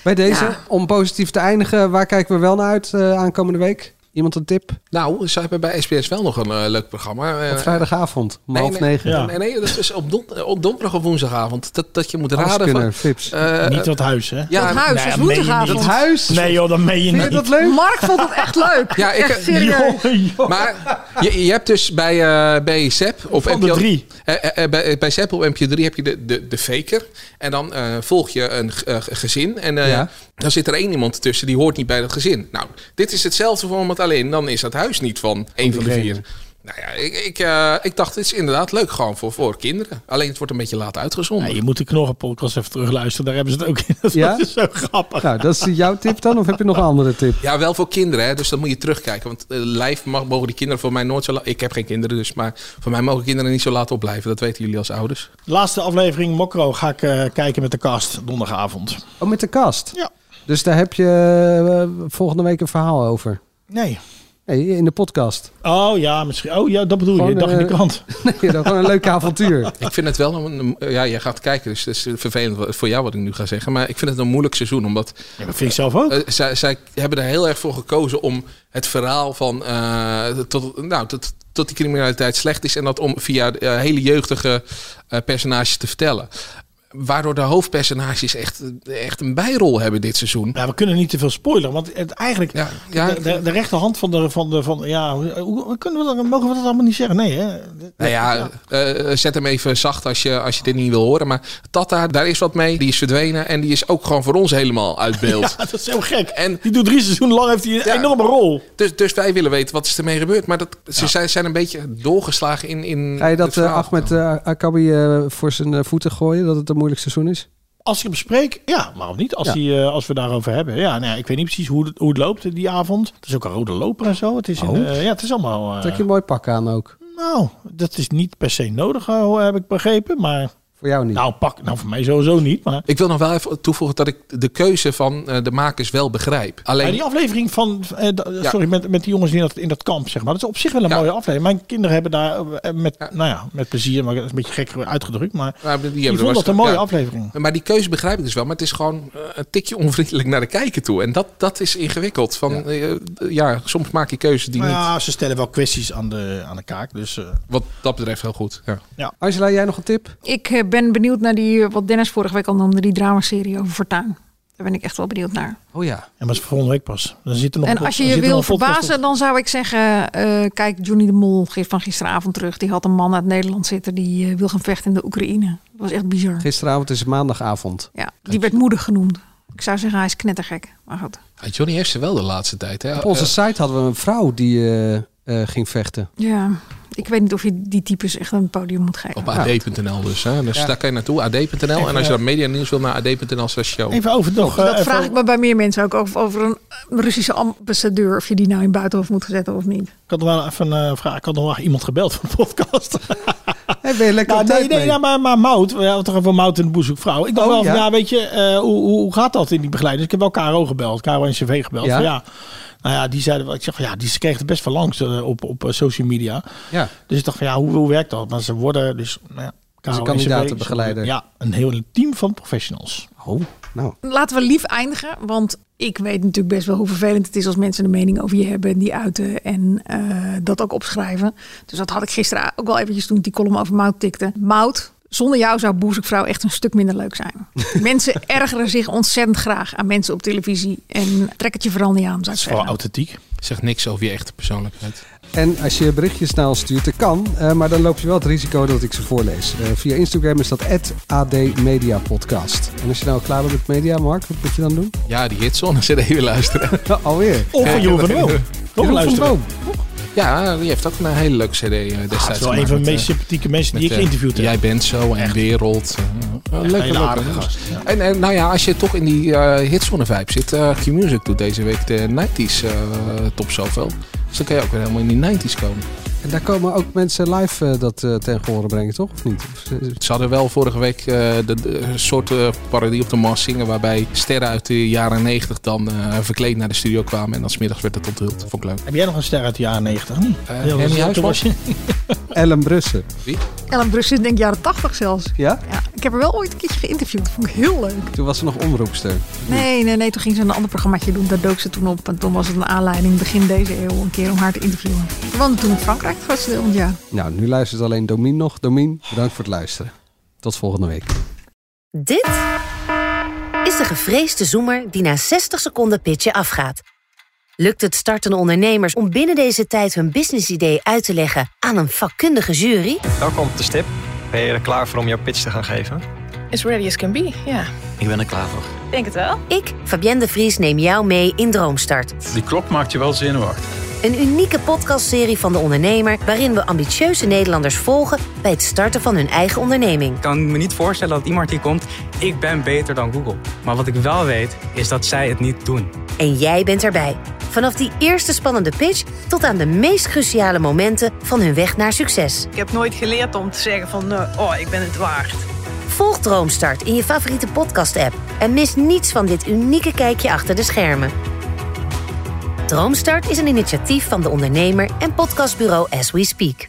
Bij deze, Ja. om positief te eindigen, waar kijken we wel naar uit eh, aankomende week? Iemand een tip? Nou, ze hebben bij SBS wel nog een eh, leuk programma. Eh, Op vrijdagavond om nee, half nee, negen. Nee, nee, dat is op, don- op donderdag of woensdagavond. Dat, dat je moet Alles raden. kunnen, van, Fips. eh, Niet dat huis, hè? Ja, Dat huis, Nee, dat is dus meen je woensdagavond. niet. Dat huis? Nee, joh, dat meen je niet. Mark vond het echt leuk. Ja, ik- echt serieus. Maar je, je hebt dus bij, eh bij Sepp op Van de NPO drie. Eh, eh, eh, bij, bij Sepp op NPO 3 heb je de, de, de faker. En dan eh, volg je een g- eh, gezin. En eh, Ja. dan zit er één iemand tussen die hoort niet bij dat gezin. Nou, dit is hetzelfde voor iemand alleen. Dan is dat huis niet van één van de vier. Nou ja, ik, ik, eh, ik dacht, dit is inderdaad leuk gewoon voor, voor kinderen. Alleen het wordt een beetje laat uitgezonden. Nee, Nou, je moet de knorrenpodcast even terugluisteren. Daar hebben ze het ook in. [LAUGHS] Dat Ja? is zo grappig. Nou, dat is jouw tip dan? Of heb je nog een andere tip? Ja, wel voor kinderen, hè? dus dan moet je terugkijken. Want eh, lijf mag, mogen die kinderen voor mij nooit zo laat... Ik heb geen kinderen dus, maar voor mij mogen kinderen niet zo laat opblijven. Dat weten jullie als ouders. Laatste aflevering Mokro ga ik eh, kijken met de cast donderdagavond. Oh, met de kast? Ja. Dus daar heb je eh, volgende week een verhaal over? Nee. Nee, in de podcast. [LAUGHS] Oh ja, misschien. Oh ja, dat bedoel je. Gewoon, Dag in de eh, krant. Nee, dat gewoon een leuk avontuur. Ik vind het wel een... een- Ja, jij gaat kijken, dus dat is vervelend wat- voor jou wat ik nu ga zeggen. Maar ik vind het een moeilijk seizoen, omdat... Ja, dat vind ik zelf ook. eh, zij, zij hebben er heel erg voor gekozen om het verhaal van... eh, tot, nou, tot, tot die criminaliteit slecht is. En dat om via eh, hele jeugdige eh, personages te vertellen. Waardoor de hoofdpersonages echt, echt een bijrol hebben dit seizoen. Ja, we kunnen niet te veel spoileren, want het eigenlijk ja, de, de, de rechterhand van de van de van ja, hoe, hoe- kunnen we dat, mogen we dat allemaal niet zeggen? Nee, hè? [LAUGHS] Nou ja, eh, zet hem even zacht als je, als je dit niet wil horen. Maar Tata, daar is wat mee. Die is verdwenen en die is ook gewoon voor ons helemaal uit beeld. Ja, dat is heel gek. En die doet drie seizoenen lang heeft hij een Ja. enorme rol. Dus, dus wij willen weten wat is ermee gebeurd. Maar dat, ze zijn, zijn een beetje doorgeslagen in, in Ga je het dat verhaal. eh, Ahmed eh, Akabi eh, voor zijn eh, voeten gooien, dat het een moeilijk seizoen is? Als ik hem spreek, ja, waarom niet? Als, Ja. die, eh, als we daarover hebben. Ja, nou, ja, ik weet niet precies hoe, het- hoe het loopt die avond. Het is ook een rode loper en zo. Het is, in, Oh. eh, ja, het is allemaal... eh, Trek je een mooi pak aan ook. Nou, dat is niet per se nodig, eh, heb ik begrepen. Maar Voor jou niet? Nou, pak, nou voor mij sowieso niet. Maar... Ik wil nog wel even toevoegen dat ik de keuze van eh, de makers wel begrijp. Alleen, Maar die aflevering van, eh, d- Ja. sorry, met, met die jongens in dat, in dat kamp, zeg maar. Dat is op zich wel een mooie aflevering. Mijn kinderen hebben daar eh, met, Nou ja, met plezier, maar dat is een beetje gek uitgedrukt. Maar Ja, maar die die hebben er vonden dat was- een mooie ja. aflevering. Maar die keuze begrijp ik dus wel. Maar het is gewoon eh, een tikje onvriendelijk naar de kijker toe. En dat, dat is ingewikkeld. Van, ja. ja, soms maak je keuzes die Maar niet... Nou ja, ze stellen wel kwesties aan de, aan de kaak. Dus eh, Wat dat betreft heel goed. Ja. Angela, jij nog een tip? Ik eh, ben benieuwd naar die, eh, wat Dennis vorige week al noemde, die dramaserie over Fortuin. Daar ben ik echt wel benieuwd naar. Oh ja. En maar is volgende week pas. Dan zit er nog En een- als je dan je zit er wil nog een podcast op. verbazen, dan zou ik zeggen: eh, kijk, Johnny de Mol geeft van gisteravond terug. Die had een man uit Nederland zitten die eh, wil gaan vechten in de Oekraïne. Dat was echt bizar. Gisteravond is het maandagavond. Ja, die werd moedig genoemd. Ik zou zeggen, hij is knettergek. Maar goed. Ja, Johnny heeft ze wel de laatste tijd. Hè? Op onze Eh, site hadden we een vrouw die eh, eh, ging vechten. Ja, ik weet niet of je die types echt een podium moet geven. Eh, op ad.nl dus. Hè? Dus Ja. daar kan je naartoe, ad.nl. En als je dat media nieuws wil, naar ad.nl slash show. Even over nog. eh, Dat even- vraag ik me bij meer mensen ook over, over een eh, Russische ambassadeur. Of je die nou in het buitenhof moet zetten of niet. Ik had nog wel even een vraag. Ik had nog wel iemand gebeld van de podcast. [LAUGHS] Hey, ben je lekker nou, op nee, tijd nee, mee? nou, maar, maar Mout. We hadden toch even Mout in de boezekvrouw. Ik dacht Oh, wel, van, ja. ja, weet je, eh, hoe, hoe hoe gaat dat in die begeleiding? Dus ik heb wel KRO gebeld. KRO en CV gebeld. Ja. Van, ja. Nou ja, die zeiden wel. Ik zeg van ja, die ze kregen het best wel langs eh, op, op eh, social media. Ja. Dus ik dacht van ja, hoe, hoe werkt dat? Maar ze worden dus... Nou ja, Dus een KRO en CV, kandidatenbegeleider. Ja, een heel team van professionals. Oh, nou. Laten we lief eindigen, want ik weet natuurlijk best wel hoe vervelend het is als mensen een mening over je hebben en die uiten en eh, dat ook opschrijven. Dus dat had ik gisteren ook wel eventjes toen ik die column over Mout tikte. Mout, zonder jou zou Boezekvrouw echt een stuk minder leuk zijn. mensen ergeren zich ontzettend graag aan mensen op televisie en trek het je vooral niet aan, zou ik zeggen. authentiek. Zegt niks over je echte persoonlijkheid. En als je berichtjes naar ons stuurt, dat kan. eh, maar dan loop je wel het risico dat ik ze voorlees. Eh, via Instagram is dat @admediapodcast. En als je nou klaar bent met media, Mark, wat moet je dan doen? [LAUGHS] Ja, die hitzone zit even luisteren. Alweer. Of van Jeroen van den Boom. Nog Jeroen van Oh, luisteren. Boom. [LAUGHS] Ja, die heeft ook een hele leuke CD eh, destijds. het is wel gemaakt Ah, een van de met, meest eh, sympathieke mensen die met, ik eh, geïnterviewd heb. Jij bent zo en wereld. Eh, Echt leuk, een hele leuk, aardige leuk. gast, En, en nou ja, als je toch in die eh hitzone vibe zit, eh Q-Music doet deze week de 90s eh, top zoveel. Dus dan kun je ook weer helemaal in die 90s komen. En daar komen ook mensen live eh, dat eh ten gehore brengen, toch? Of niet? Of, eh, Ze hadden wel vorige week eh, de, de- een soort eh, parodie op de Mars zingen, waarbij sterren uit de jaren 90 dan eh, verkleed naar de studio kwamen en dan smiddags werd het onthuld. Vond ik leuk. Heb jij nog een ster uit de jaren 90? Niet? Heel Henny veel- Huisman? was je- Ellen Brussen. Ellen Brussen is denk ik jaren 80 zelfs. Ja? Ja, ik heb haar wel ooit een keertje geïnterviewd, vond ik heel leuk. Toen was ze nog omroepster. Nee, nee, nee. Toen ging ze een ander programmaatje doen. Daar dook ze toen op. En toen was het een aanleiding begin deze eeuw een keer om haar te interviewen. Ze woonde toen in Frankrijk het grootste deel van het jaar. Nou, nu luistert alleen Domien nog. Domien, bedankt voor het luisteren. Tot volgende week. Dit is de gevreesde zoemer die na 60 seconden pitchen afgaat. Lukt het startende ondernemers om binnen deze tijd hun businessidee uit te leggen aan een vakkundige jury? Welkom op de stip. Ben je er klaar voor om jouw pitch te gaan geven? As ready as can be, ja. Ik ben er klaar voor. Denk het wel. Ik, Fabienne de Vries, neem jou mee in Droomstart. Die klok maakt je wel zenuwachtig. Een unieke podcastserie van de ondernemer waarin we ambitieuze Nederlanders volgen bij het starten van hun eigen onderneming. Ik kan me niet voorstellen dat iemand hier komt, ik ben beter dan Google. Maar wat ik wel weet, is dat zij het niet doen. En jij bent erbij. Vanaf die eerste spannende pitch tot aan de meest cruciale momenten van hun weg naar succes. Ik heb nooit geleerd om te zeggen van, eh, oh, ik ben het waard. Volg Droomstart in je favoriete podcast-app en mis niets van dit unieke kijkje achter de schermen. Droomstart is een initiatief van de ondernemer en podcastbureau As We Speak.